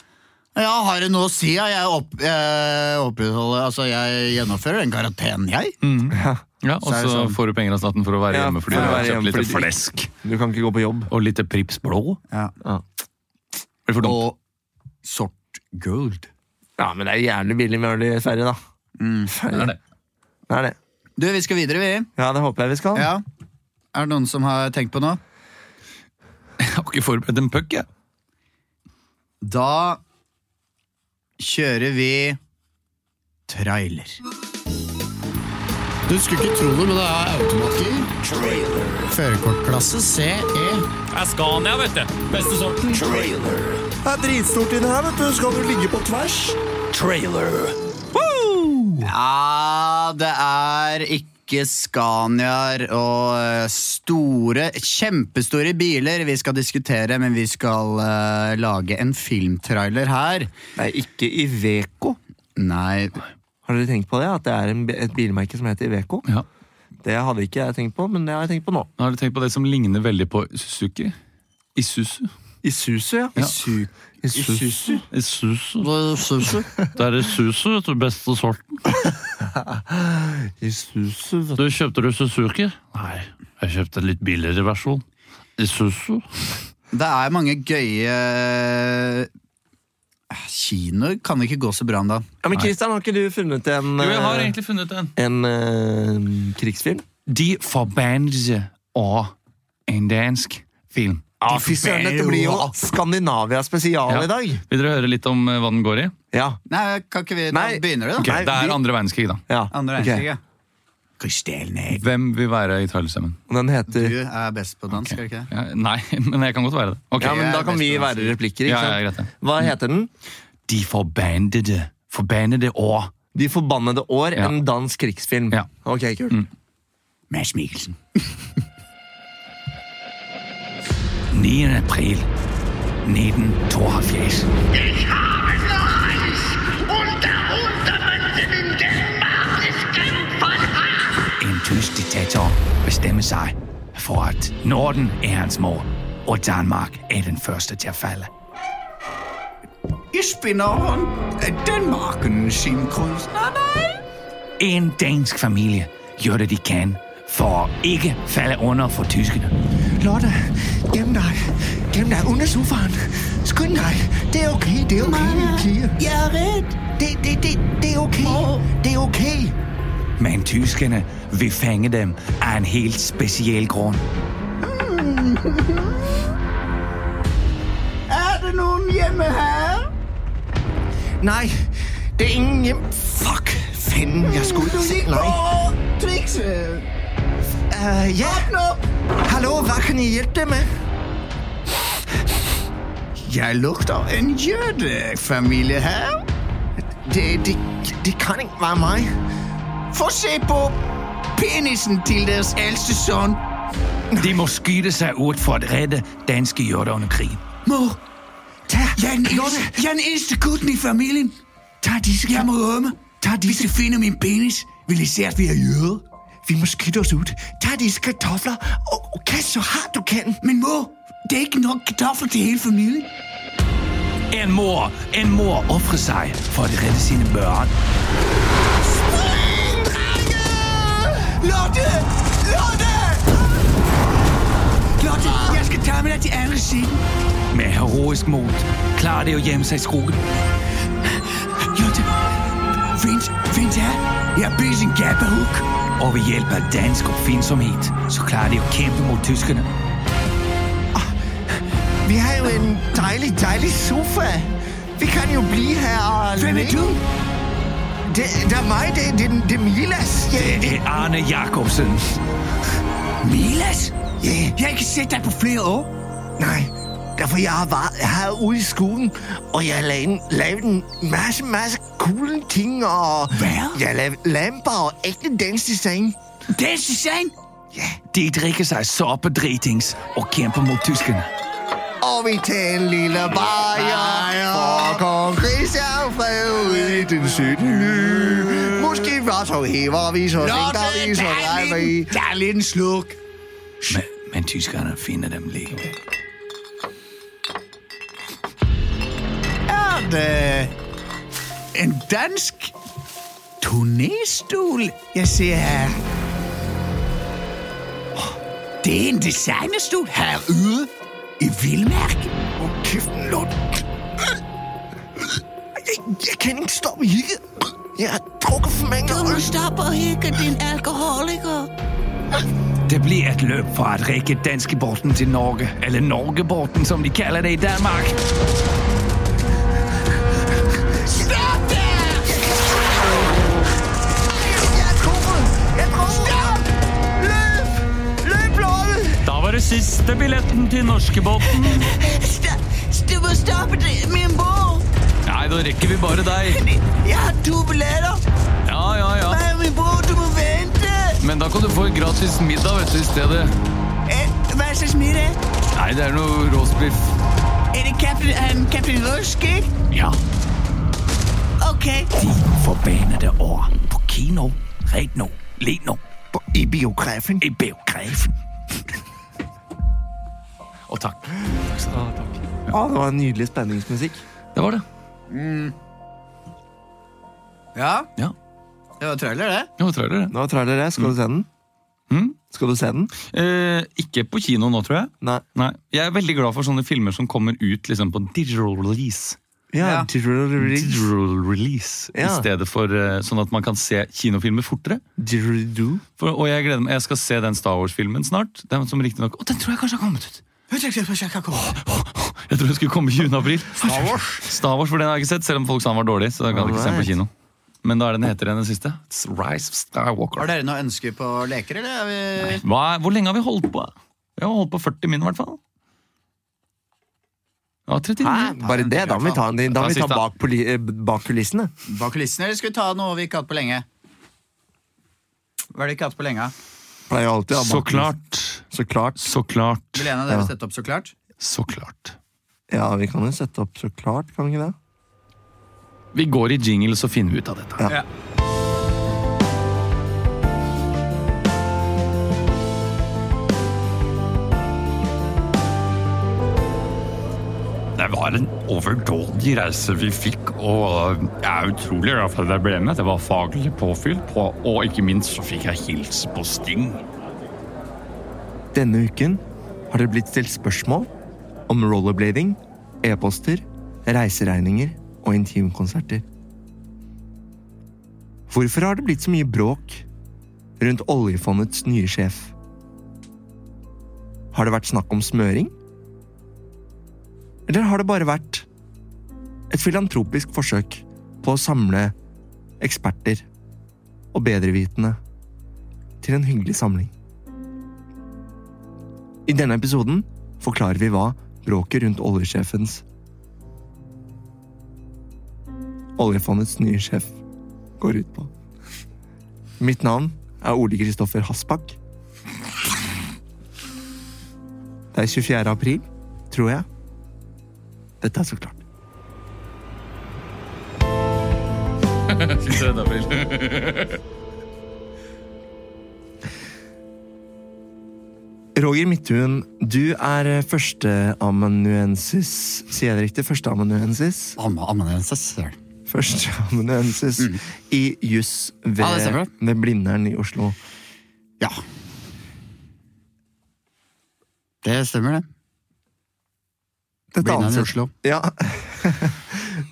Ja, har det noe å si? Ja, jeg, opp, jeg opprettholder Altså, jeg gjennomfører den karantenen, jeg. ja Og Så er det så sånn- får du penger av staten for å være Ja, hjemme fordi for å du har være kjøpt hjemme litt fordi du- flesk. Du kan ikke gå på jobb. Og litt Prips Blå. Ja. Er det for dumt? Og sort gold. Ja, men det er jævlig billig med øl i Sverige, da. Sverige. Det er det. Det er det. Du, vi skal videre, vi. Ja, det håper jeg vi skal. Ja. Er det noen som har tenkt på noe? Jeg har ikke forberedt en puck, jeg. Da kjører vi trailer. Du skulle ikke tro det, men det er automatgir. Førerkortklasse E. CE. Det er dritstort inni her, vet du. Skal du ligge på tvers? Ja, det er ikke Scaniaer og eh, store, kjempestore biler vi skal diskutere, men vi skal eh, lage en filmtrailer her. Det er ikke Iveco. Nei, Har dere tenkt på det? At det er en, et bilmerke som heter Iveco? Ja. Det hadde ikke jeg tenkt på, men det har jeg tenkt på nå. Har du tenkt på det som ligner veldig på Suzuki? Isuzu? Isuzu, ja. Ja. Isuzu. Isuzu. Det er Isuzu, vet du. Beste sorten. Isuzu. vet du. Du kjøpte du Suzuki? Nei, jeg kjøpte en litt billigere versjon. Isuzu. Det er mange gøye Kinoer kan ikke gå så bra om dagen. Ja, men Christian, har ikke du funnet en, Jo, jeg har eh, egentlig funnet en. en eh, krigsfilm? De forbindelse av en dansk film. Ja, Ah, fy søren, dette blir jo Skandinavia spesial Ja. i dag. Vil dere høre litt om eh, hva den går i? Ja. Nei, kan ikke vi da Nei. begynner det, da? Ok. Nei, det vi- er andre verdenskrig, da. ja. ok. Andre verdenskrig, ja. Kristelne, Hvem vil være i Italien? Og Den heter du er best på dans, skal du ikke det? Ja, nei, men jeg kan godt være det. Ok, Ja, men jeg Da er kan best vi på være replikker. ikke Ja, ja, sant? greit det. Hva heter den? De forbindede. Forbindede år. De forbannede år, Ja. en dansk krigsfilm. Ja. Ok, kult. Mads Mikkelsen. 9. april 1972. Ich habe Reis und darunter müssen in den Markt des Kämpfers haben. En tysk diktator bestemmer sig for, at Norden er hans mor, og Danmark er den første til at falde. Ich bin auch eh, den Markenschinkunstner, nein! En dansk familie gør det, de kan, for at ikke falde under for tyskerne. Lotte, gem dig. Gem dig under sofaen. Skynd dig. Det er okay, det er okay, min pige. Jeg er redd. Det, det, det, det er okay. Det er okay. Men tyskerne vil fange dem af en helt speciel grund. Er det noen hjemme her? Nej, det er ingen hjem. Fuck, fanden, jeg skulle ikke se. Nej. Trikse! Eh, Uh, ja, Opp! hallo, hvad kan I hjælpe dig med? Jeg lukter en jødefamilie her. Det, det, det kan ikke være mig. Få se på penisen til deres eldste sønn. De må skide sig ud for at redde danske jøder under krigen. Mor, tag. Jeg er den eneste, Jeg er den eneste gutten i familien. Tag disse Jeg må rømme. Tag disse. Det finder min penis. Vi lige ser, at vi er jøde. Vi må skidte os ud. Tag disse kartofler og, og kast så hardt du kan. Men mor, det er ikke nok kartofler til hele familien. En må, en må ofre seg for å redde sine barn. Lotte! Lotte! Lotte, jeg skal ta med deg til andre siden. Med heroisk mot klarer de å gjemme seg i skogen. Lotte, fint, fint her. Jeg har bygd en gapahuk. Og ved hjelp av dansk oppfinnsomhet så klarer de å kjempe mot tyskerne. Vi har jo en dejlig, dejlig sofa. Vi kan jo blive her og... Hvem er du? Det, det er meg, det, det, det er Milas. Jeg, Det er Arne Jacobsen. Milas? Ja. Jeg har ikke sett deg på flere år. Nej, derfor jeg har været her ude i skoven, og jeg har lavet, lavet en masse, masse cool ting, og... Hvad? Jeg har lavet lamper og ægte dansdesign. Det er Susanne! De drikker seg soppedritings og kjemper mot tyskerne. Og vi tager en lille bajer, og kong Christian fred ud i den 17. Måske var så hæver vi, så længder vi, så drejer vi. er litt en slurk. Men, men tyskerne finner dem likevel. Er det en dansk turnéstol jeg ser her? Åh, Det er en designerstol herude i Vildmark. Åh, kæft, en lort. Jeg, jeg kan ikke stoppe hikke. Jeg har drukket for mange øl. Stop og hikke, din alkoholiker. Det blir et løp for å rekke danskeborten til Norge. Eller Norgeborten, som de kaller det i Danmark. Da var det siste billetten til norskebåten. Stop. Du må stoppe det, min bror. Nei, da rekker vi bare deg. Jeg har to billetter. Ja, ja, ja. Hei, min bror, du må vente. Men da kan du få en gratis middag vet du, i stedet. Eh, Hva slags middag? Nei, det er noe roastbiff. Er det Captain, um, Captain Rusk, ikke? Ja, Ok. de forbannede år. På kino, rent nå, let nå, I biografen. i biografen. Og takk. Ja, det var en nydelig spenningsmusikk. Det var det. Ja? Ja. Det var trailer, det. Jo, tror jeg det. Nå er trailer jeg. Skal du se den? Mm. Skal du se den? Eh, ikke på kino nå, tror jeg. Nei. Nei. Jeg er veldig glad for sånne filmer som kommer ut liksom, på digital release. Ja, Ja. digital release. Digital release I Ja. stedet for eh, sånn at man kan se kinofilmer fortere. Digital do. For, og jeg gleder meg, jeg skal se den Star Wars-filmen snart. Den som riktig nok, Å, den tror jeg kanskje har kommet ut! Jeg tror den skulle komme 20. april. Star Wars, Star Wars, For den har jeg ikke sett, selv om folk sa den var dårlig. Så den kan jeg ikke se den Alright. på kino Men da er den heter den, den siste. It's Rise of Har Skywalker. dere noe ønske på leker, eller? Er vi... Hva, er- hvor lenge har vi holdt på? Vi har holdt på 40 min, i hvert fall. Ja, 39. Hæ? Bare det? Da må vi ta, den- da må vi ta Siste. bak, poli- eh, bak kulissene. Bak kulissene, eller skal vi ta noe vi ikke har hatt på lenge? Hva er det vi ikke har hatt på lenge? Pleier jo alltid å ha Så bak kulissene. klart. Så klart. Så klart. Vil en av dere Ja. sette opp, så klart? Så klart. Ja, vi kan jo sette opp så klart, kan vi ikke det? Vi går i jingle, så finner vi ut av dette. Ja. Det var en overdådig reise vi fikk, og eh, jeg er utrolig glad for at jeg ble med. Det var faglig påfyll, på, og ikke minst så fikk jeg hilse på Sting. Denne uken har det blitt stilt spørsmål om rollerblading, e-poster, reiseregninger og intimkonserter. Hvorfor har det blitt så mye bråk rundt oljefondets nye sjef? Har det vært snakk om smøring? Eller har det bare vært et filantropisk forsøk på å samle eksperter og bedrevitende til en hyggelig samling? I denne episoden forklarer vi hva bråket rundt oljesjefens Oljefondets nye sjef går ut på. Mitt navn er Ole Kristoffer Hassbakk. Det er 24. april, tror jeg. Dette er så klart. Roger Midthun, du er førsteamanuensis. Sier jeg det riktig? Førsteamanuensis? Amanuensis, sier han. Førsteamanuensis Mm. i juss ved, Ja, det stemmer det. ved Blindern i Oslo. Ja. Det stemmer, det. Dette Blindern i anses- Oslo. Ja,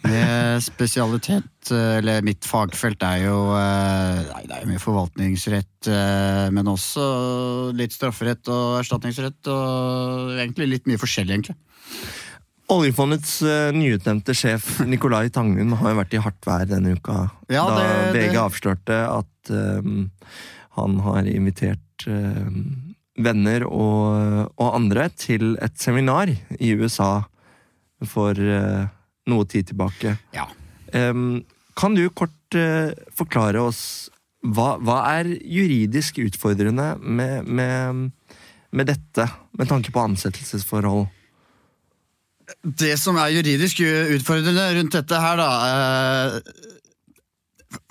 Med spesialitet, eh, eller mitt fagfelt, er jo eh, Nei, det er jo mye forvaltningsrett, eh, men også litt strafferett og erstatningsrett, og egentlig litt mye forskjellig, egentlig. Oljefondets eh, nyutnevnte sjef Nicolai Tangen har jo vært i hardt vær denne uka. Ja, da det- VG det- avslørte at eh, han har invitert eh, venner og, og andre til et seminar i USA for eh, noe tid tilbake. Ja. Em, kan du kort eh, forklare oss hva, hva er juridisk utfordrende med, med, med dette, med tanke på ansettelsesforhold? det som er juridisk utfordrende rundt dette her, da eh,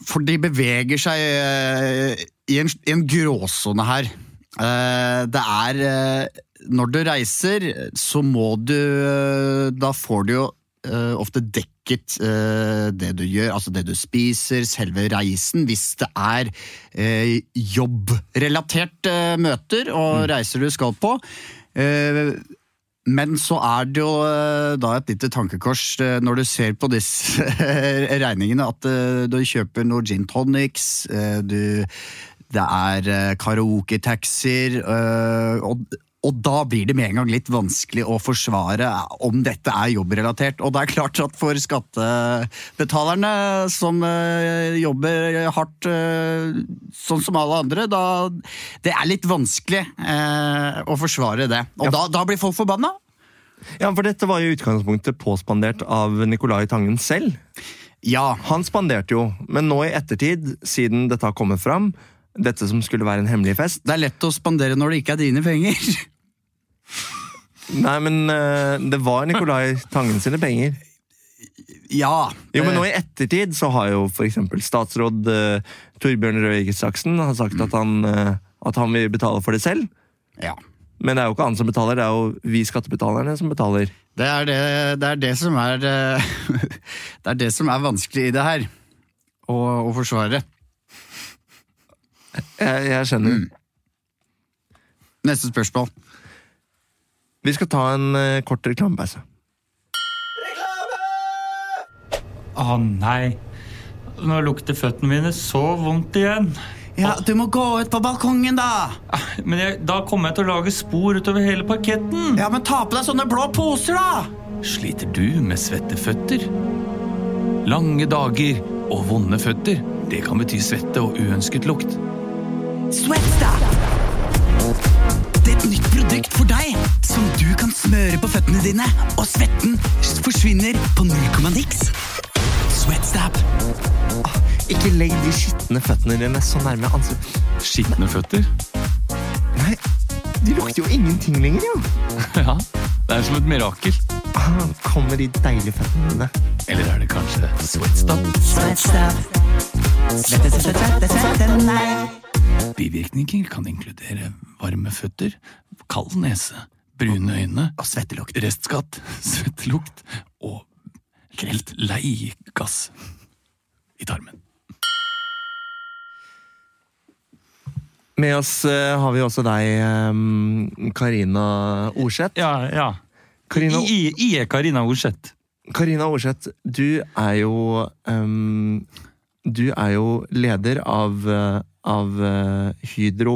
For de beveger seg eh, i en, i en gråsone her. Eh, Det er eh, Når du reiser, så må du eh, Da får du jo eh, ofte dekket eh, det du gjør, altså det du spiser, selve reisen, hvis det er eh, jobbrelatert eh, møter og reiser du skal på. Eh, men så er det jo eh, da et lite tankekors eh, når du ser på disse regningene, at eh, du kjøper noe gin tonics, eh, du, det er eh, karaoketaxier, eh, og, og da blir det med en gang litt vanskelig å forsvare om dette er jobbrelatert. Og det er klart at for skattebetalerne som eh, jobber hardt, eh, sånn som alle andre, da det er litt vanskelig eh, å forsvare det. Og da, da blir folk forbanna. Ja, for dette var jo i utgangspunktet påspandert av Nicolai Tangen selv. Ja. Han spanderte jo, men nå i ettertid, siden dette har kommet fram, dette som skulle være en hemmelig fest Det er lett å spandere når det ikke er dine penger. Nei, men eh, det var Nicolai Tangen sine penger. ja. Jo, men nå i ettertid så har jo f.eks. statsråd eh, Torbjørn Røe Isaksen har sagt at han, eh, at han vil betale for det selv. ja. Men det er jo ikke han som betaler, det er jo vi skattebetalerne som betaler. Det er det, det er det som er eh, Det er det som er vanskelig i det her. Å, å forsvare. Jeg, jeg skjønner. Neste spørsmål. Vi skal ta en eh, kort reklamepause. Å nei. Nå lukter føttene mine så vondt igjen. Ja, Du må gå ut på balkongen, da! Men jeg, da kommer jeg til å lage spor utover hele parketten. Ja, Men ta på deg sånne blå poser, da! Sliter du med svette føtter? Lange dager og vonde føtter, det kan bety svette og uønsket lukt. Sweatstop! Det er et nytt produkt for deg som du kan smøre på føttene dine, og svetten forsvinner på null komma niks. Sweatstop. Ikke legg de skitne føttene dine så nærme ansiktet. Skitne føtter? Nei, de lukter jo ingenting lenger, jo. Ja, det er som et mirakel. Ah, kommer de deilige føttene dine. Eller er det kanskje sweatstop? Sweatstop. Svette, svette, svette, svette, nei. Bivirkninger kan inkludere varme føtter, kald nese, brune øyne Og svettelukt. Restskatt, svettelukt og helt lei gass i tarmen. Med oss eh, har vi også deg, Karina Orseth. Ja, ja. Karina, I, I er Karina Orseth. Karina Orseth, du er jo ehm, Du er jo leder av, eh, av eh, Hydro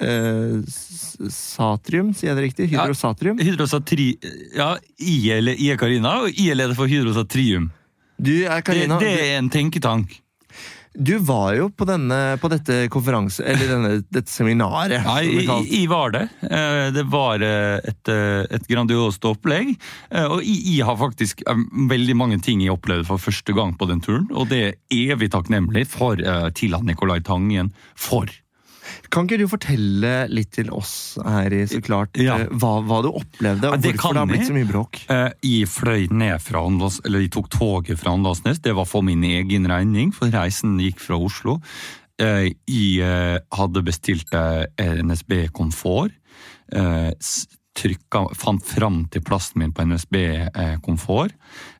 eh, s- Satrium, sier jeg det riktig? Ja. Hydro Satrium. Hydrosatri... Ja, I er, I er Karina, og I er leder for Hydrosatrium. Du er Det, Karina. det er en tenketank. Du var jo på, denne, på dette konferanse... Eller denne, dette seminaret. Ja, som det i, kalles. i- i var det. Eh, Det var eh, et, eh, et grandiost opplegg. Eh, Og jeg jeg har faktisk eh, veldig mange ting jeg opplevde for første gang på den turen. Og det er evig takknemlig for eh, til at Nicolai Tangen for. Kan ikke du fortelle litt til oss her, i så klart, Ja. eh, hva, hva du opplevde, Ja, og det hvorfor kan det har blitt jeg. så mye bråk? Eh, Jeg fløy ned fra Åndals, eller jeg tok toget fra Åndalsnes. Det var for min egen regning, for reisen gikk fra Oslo. Eh, Jeg eh, hadde bestilt eh, NSB Komfort. eh, s- Trykka, fant fram til plassen min på NSB eh, Komfort.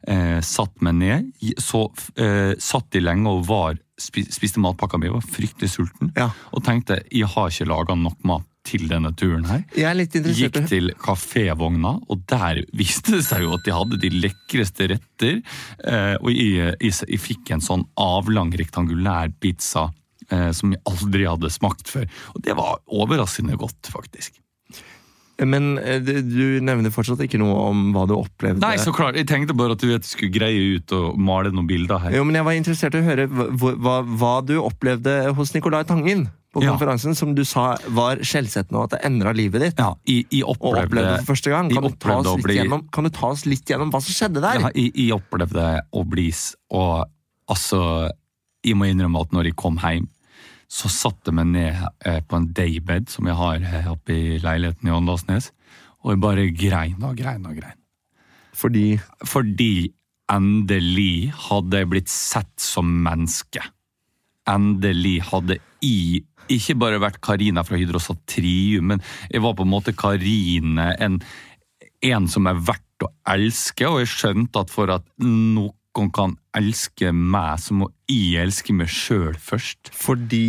Eh, satt meg ned. j- Så eh, satt de lenge og var, spi- spiste matpakka mi. Var fryktelig sulten. Ja. Og tenkte jeg har ikke laga nok mat til denne turen her. Jeg er litt interessert Gikk i til kafévogna, og der viste det seg jo at de hadde de lekreste retter. Eh, og jeg, jeg, jeg fikk en sånn avlang, rektangulær pizza eh, som jeg aldri hadde smakt før. Og det var overraskende godt, faktisk. Men eh, du- du nevner fortsatt ikke noe om hva du opplevde. Nei, så klart. Jeg tenkte bare at du vet, skulle greie ut og male noen bilder her. Jo, men jeg var interessert i å høre hva, hva, hva du opplevde hos Nicolai Tangen på Ja. konferansen, som du sa var skjellsettende, og at det endra livet ditt. Ja, jeg, jeg Og opplevde, opplevde det for første gang. jeg Kan du, ta opplevde oss å litt bli- gjennom, kan du ta oss litt gjennom hva som skjedde der? Ja, jeg, jeg opplevde å bli s- Og altså Jeg må innrømme at når jeg kom hjem, så satte jeg meg ned eh, på en daybed som jeg har eh, oppe i leiligheten i Åndalsnes, og jeg bare grein og grein og grein. Fordi Fordi endelig hadde jeg blitt sett som menneske. Endelig hadde jeg ikke bare vært Karina fra Hydrosatrium, men jeg var på en måte Karine, en, en som er verdt å elske, og jeg skjønte at for at noen kan elske meg, så må jeg elske meg sjøl først. Fordi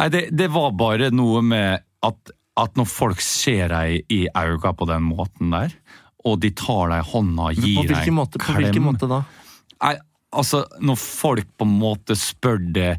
Nei, det, det var bare noe med at, at når folk ser deg i auga på den måten der, og de tar deg i hånda og På gir deg hvilken en måte, på klem hvilken måte da? Nei, altså, når folk på en måte spør det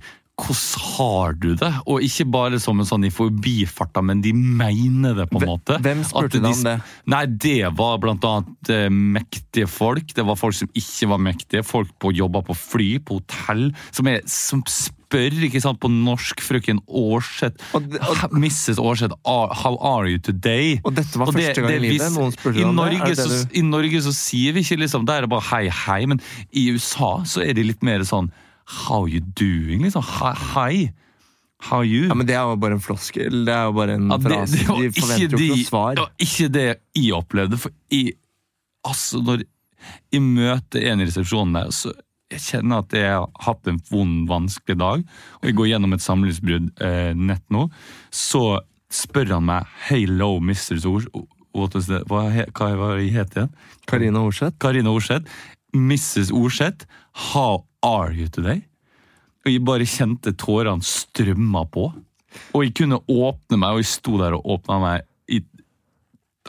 hvordan har du det? Og ikke bare som en sånn i forbifarta, men de mener det, på en Hvem- måte. hvem spurte At deg om sp- det? Nei, det var blant annet eh, mektige folk. Det var folk som ikke var mektige. Folk på jobber på fly, på hotell, som, er, som spør ikke sant, på norsk. Frøken Aarseth. Og det- og- Ha- Mrs. Aarseth, are- how are you today? Og dette var første gang i livet vis- noen spurte deg i om det, er Norge, det det så, du- i Norge så sier vi ikke liksom Der er det bare hei, hei. Men i USA så er det litt mer sånn How you doing? Liksom. Hei. hei. How you? Ja, men Det er jo bare en floskel. Det er jo bare en Ja, det, frase. det var De ikke forventer jo de- ikke noe svar. Det var ikke det jeg opplevde. For jeg, altså, når jeg møter en i resepsjonen der, så jeg kjenner at jeg har hatt en vond, vanskelig dag, og jeg går gjennom et samlivsbrudd eh, nett nå, så spør han meg Hello, Mr. Sors. What was that? Hva, he- hva var det jeg het igjen? Karina Horseth. Karina Orseth. Mrs. Orseth, how are you today? Og jeg bare kjente tårene strømma på. Og jeg kunne åpne meg, og jeg sto der og åpna meg i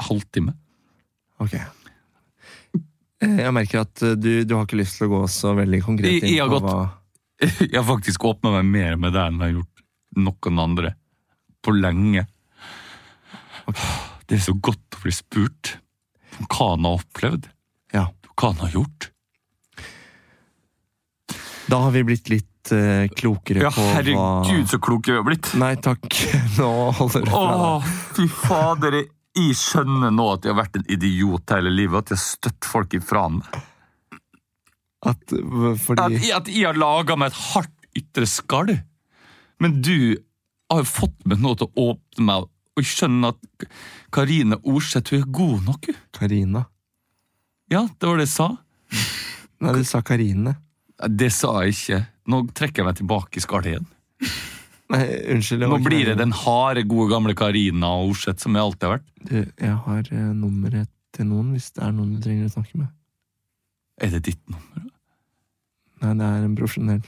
halvtime. Ok. Eh, Jeg merker at eh, du, du har ikke lyst til å gå så veldig konkret I- inn i har på gått- hva Jeg har faktisk åpna meg mer med deg enn jeg har gjort noen andre. På lenge. Det er så godt å bli spurt om hva han har opplevd. Ja. Hva han har gjort. Da har vi blitt litt eh, klokere Ja, på hva herregud, så klok jeg har blitt! Nei takk, nå holder du fra deg. Åh, fy fader, jeg- jeg skjønner nå at jeg har vært en idiot hele livet, at jeg har støtt folk ifra meg. At, eh, At, fordi jeg- at jeg har laget meg et hardt ytre skall. Men du har jo fått meg nå til å åpne meg, og jeg skjønner at Karine Orseth, hun er god nok, hun. Karina Ja, det var det jeg sa. Nei, du sa Karine. Det sa jeg ikke. Nå trekker jeg meg tilbake i skallet igjen. Nei, unnskyld. var Nå ikke blir det meningen. den harde, gode gamle Karina Orseth som jeg alltid har vært. Du, jeg har eh, nummeret til noen hvis det er noen du trenger å snakke med. Er det ditt nummer? Nei, det er en profesjonell.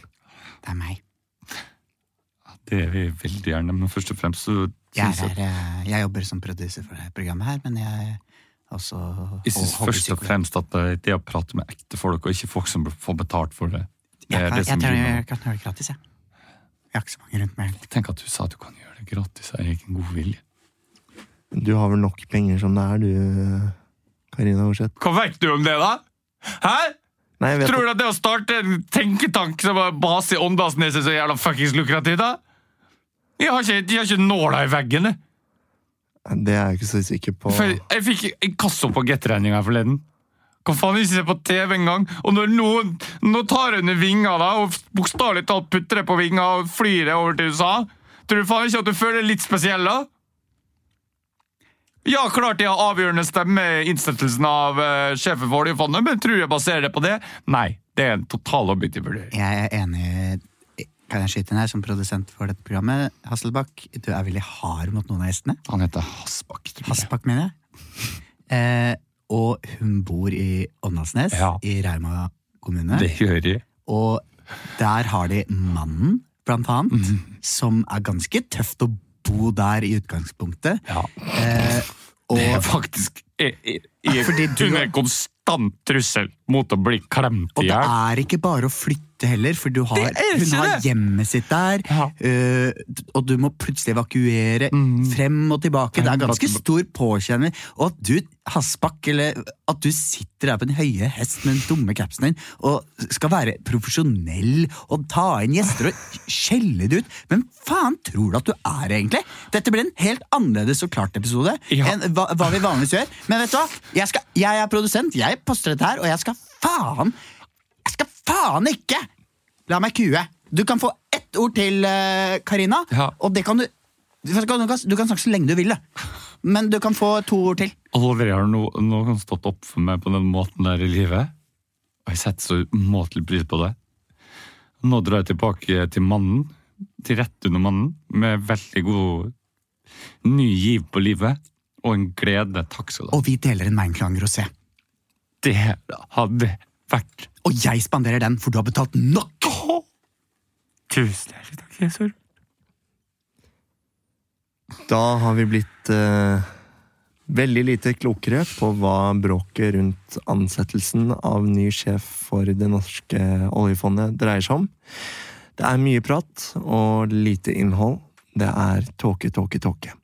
Det er meg. Det vil jeg veldig gjerne, men først og fremst så Jeg, synes jeg er, eh, jeg jobber som producer for det programmet her, men jeg er også Jeg synes ho- først og fremst at eh, det å prate med ekte folk, og ikke folk som får betalt for det, det Jeg er kan, det jeg, som tror blir jeg, meg. kan gjøre det gratis, jeg. Jeg har ikke så mange rundt meg. Tenk at du sa at du kan gjøre det gratis, er det ikke en god vilje? Du har vel nok penger som det er, du, eh, Karina Horseth. Hva vet du om det, da? Hæ? Nei, jeg vet du at det å starte en tenketank som har base i Åndalsneset, så jævla fuckings lukrativt, da? Jeg har ikke, jeg har ikke nåla i veggen, jeg. at- det er jeg ikke så sikker på. For jeg fikk en kasse på Get-regninga forleden. Kan faen ikke se på TV engang. Og når noen nå tar under vinga da, og bokstavelig talt putter det på vinga og flyr det over til USA, tror du faen ikke at du føler deg litt spesiell da? Ja, klart de har avgjørende stemme i innstettelsen av eh, sjefen for oljefondet, men tror jeg baserer det på det? Nei. Det er en total objektiv vurdering. Jeg er enig Kan jeg skyte inn her som produsent for dette programmet? Hasselbakk, du er veldig hard mot noen av gjestene. Han heter Hasbakk. tror jeg. Hasselbakk, mener jeg. Eh, og hun bor i Åndalsnes, Ja. i Rauma kommune. Det gjør de. Og der har de mannen, blant annet, Mhm. som er ganske tøft å bo der i utgangspunktet. Ja. Eh, Det er og, faktisk jeg, jeg, Fordi jeg, du- Hun er en konstant trussel mot å bli klemt og i det hjel. er ikke bare å flytte heller, for du har, Det er ikke hun har det! hjemmet sitt der, Ja. Mm. eh, og du må plutselig evakuere frem og tilbake. Det er ganske stor påkjenning. Og at du, Hasbakk, eller at du sitter der på den høye hest med den dumme capsen din og skal være profesjonell og ta inn gjester og skjelle det ut. Hvem faen tror du at du er, egentlig? Dette blir en helt annerledes og klart episode Ja. enn hva, hva vi vanligvis gjør. Men vet du hva? Jeg, skal, jeg er produsent, jeg poster dette her, og jeg skal faen Jeg skal faen ikke la meg kue. Du kan få ett ord til, eh, Karina, Ja. og det kan du du kan, du, kan, du kan snakke så lenge du vil, da. men du kan få to ord til. Aldri har no, noen stått opp for meg på den måten der i livet. Og jeg setter så umåtelig pris på det. Nå drar jeg tilbake til mannen, til rett under mannen, med veldig god ny giv på livet. Og en glede. Takk skal du ha. Og vi deler en Meinklang rosé. Det hadde vært Og jeg spanderer den, for du har betalt nok! Tusen hjertelig takk, Jesor. Da har vi blitt eh, veldig lite klokere på hva bråket rundt ansettelsen av ny sjef for det norske oljefondet dreier seg om. Det er mye prat og lite innhold. Det er tåke, tåke, tåke.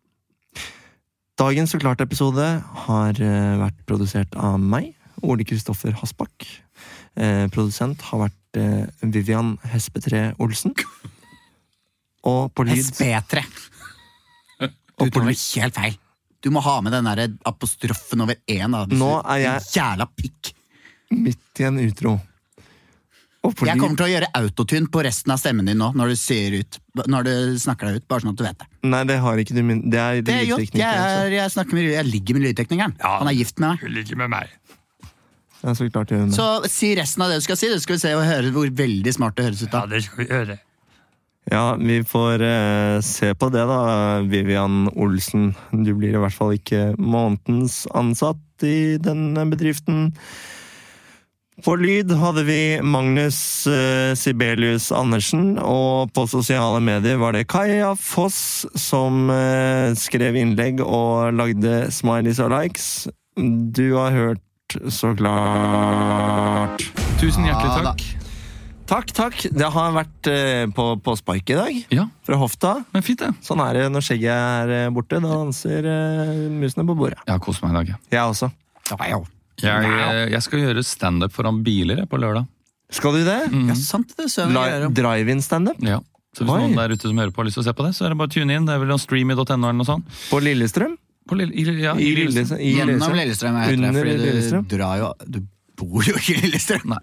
Dagens Så klart-episode har eh, vært produsert av meg, Ole Kristoffer Hasbakk. Eh, produsent har vært eh, Vivian Hespetre Olsen. Og på lyd SP3. Du tar det helt feil. Du må ha med den der apostrofen over én. da, hvis Nå du- er jeg- din Jævla pikk. midt i en utro. Og på Jeg lyd- kommer til å gjøre autotune på resten av stemmen din nå, når du, sier ut, når du snakker deg ut. Bare sånn at du vet det. Nei, det har ikke du min... Det er Det er gjort. Jeg, lydteknikken. altså. er, jeg, snakker med, jeg ligger med lydteknikeren. Han er gift med meg. Du ligger med meg. Ja, så klart gjør hun det. Så si resten av det du skal si. Du skal vi se og høre hvor veldig smart det høres ut. da. det skal vi gjøre. Ja, vi får eh, se på det, da, Vivian Olsen. Du blir i hvert fall ikke månedens ansatt i denne bedriften. På lyd hadde vi Magnus eh, Sibelius Andersen, og på sosiale medier var det Kaja Foss som eh, skrev innlegg og lagde smileys og likes. Du har hørt så klart Tusen hjertelig takk. Takk, takk. Det har vært eh, på, på spark i dag. Ja, Fra hofta. men fint, det. Sånn er det når skjegget er eh, borte. Da danser eh, musene på bordet. Jeg har kost meg i dag. jeg. Jeg også. Jeg, eh, jeg skal gjøre standup foran biler jeg, på lørdag. Skal du det? Mm. Ja, sant det, søren. La- vi gjør om. Drive-in-standup Ja. Så hvis Oi. noen der ute som hører på har lyst til å se på det, så er det bare å tune inn. Det er vel noe streamy.no eller noe sånt. på Lillestrøm. På Lille, i- ja, I i Lillestrøm. Lillestrøm. I Gjennom Lillestrøm. Lillestrøm, jeg heter Under det, fordi Lillestrøm? du drar jo Du bor jo ikke i Lillestrøm. Nei.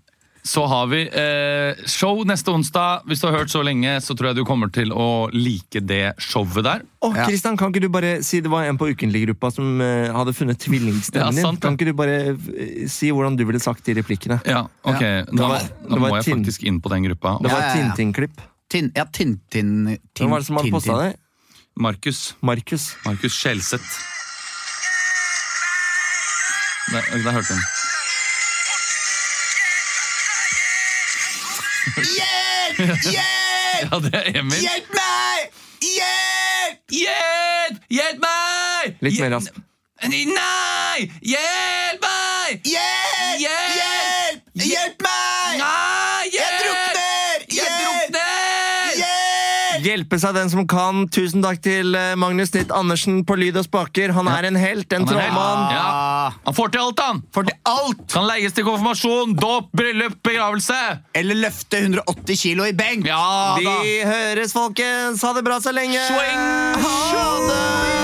Så har vi eh, show neste onsdag. Hvis du har hørt så lenge, så tror jeg du kommer til å like det showet der. Å, Kristian, kan ikke du bare si det var en på ukentlig-gruppa som eh, hadde funnet Ja, tvillingstemmen din? sant det. Kan ikke du bare eh, si hvordan du ville sagt de replikkene? Ja, ok. Nå, var- nå det var må jeg Tinn. faktisk inn på den gruppa. Det var et Ja, ja, ja. Tintin-klipp. Tin, ja, Tintin Hvem var det som hadde posta det? Markus. Markus. Markus Skjelseth. Der, der hørte hun. Hjelp! Hjelp! Ja, det er Emil. Hjelp meg! Hjelp! Hjelp! Hjelp meg! Litt Hjel- mer rasp. Nei! Hjelp meg! Hjelp! Hjelp! Hjelp! Hjelp meg! Nei, hjelp! Jeg drukner! Jeg Hjelp! drukner! Hjelp! Hjelpe seg den som kan. Tusen takk til eh, Magnus Nitt Andersen på Lyd og Spaker. Han er en helt, en Han er helt. trollmann. Ja. Han får til alt, han! For det alt! Kan leies til konfirmasjon, dåp, bryllup, begravelse! Eller løfte 180 kilo i benk! Ja da! Vi høres, folkens. Ha det bra så lenge. Swing! Ha det!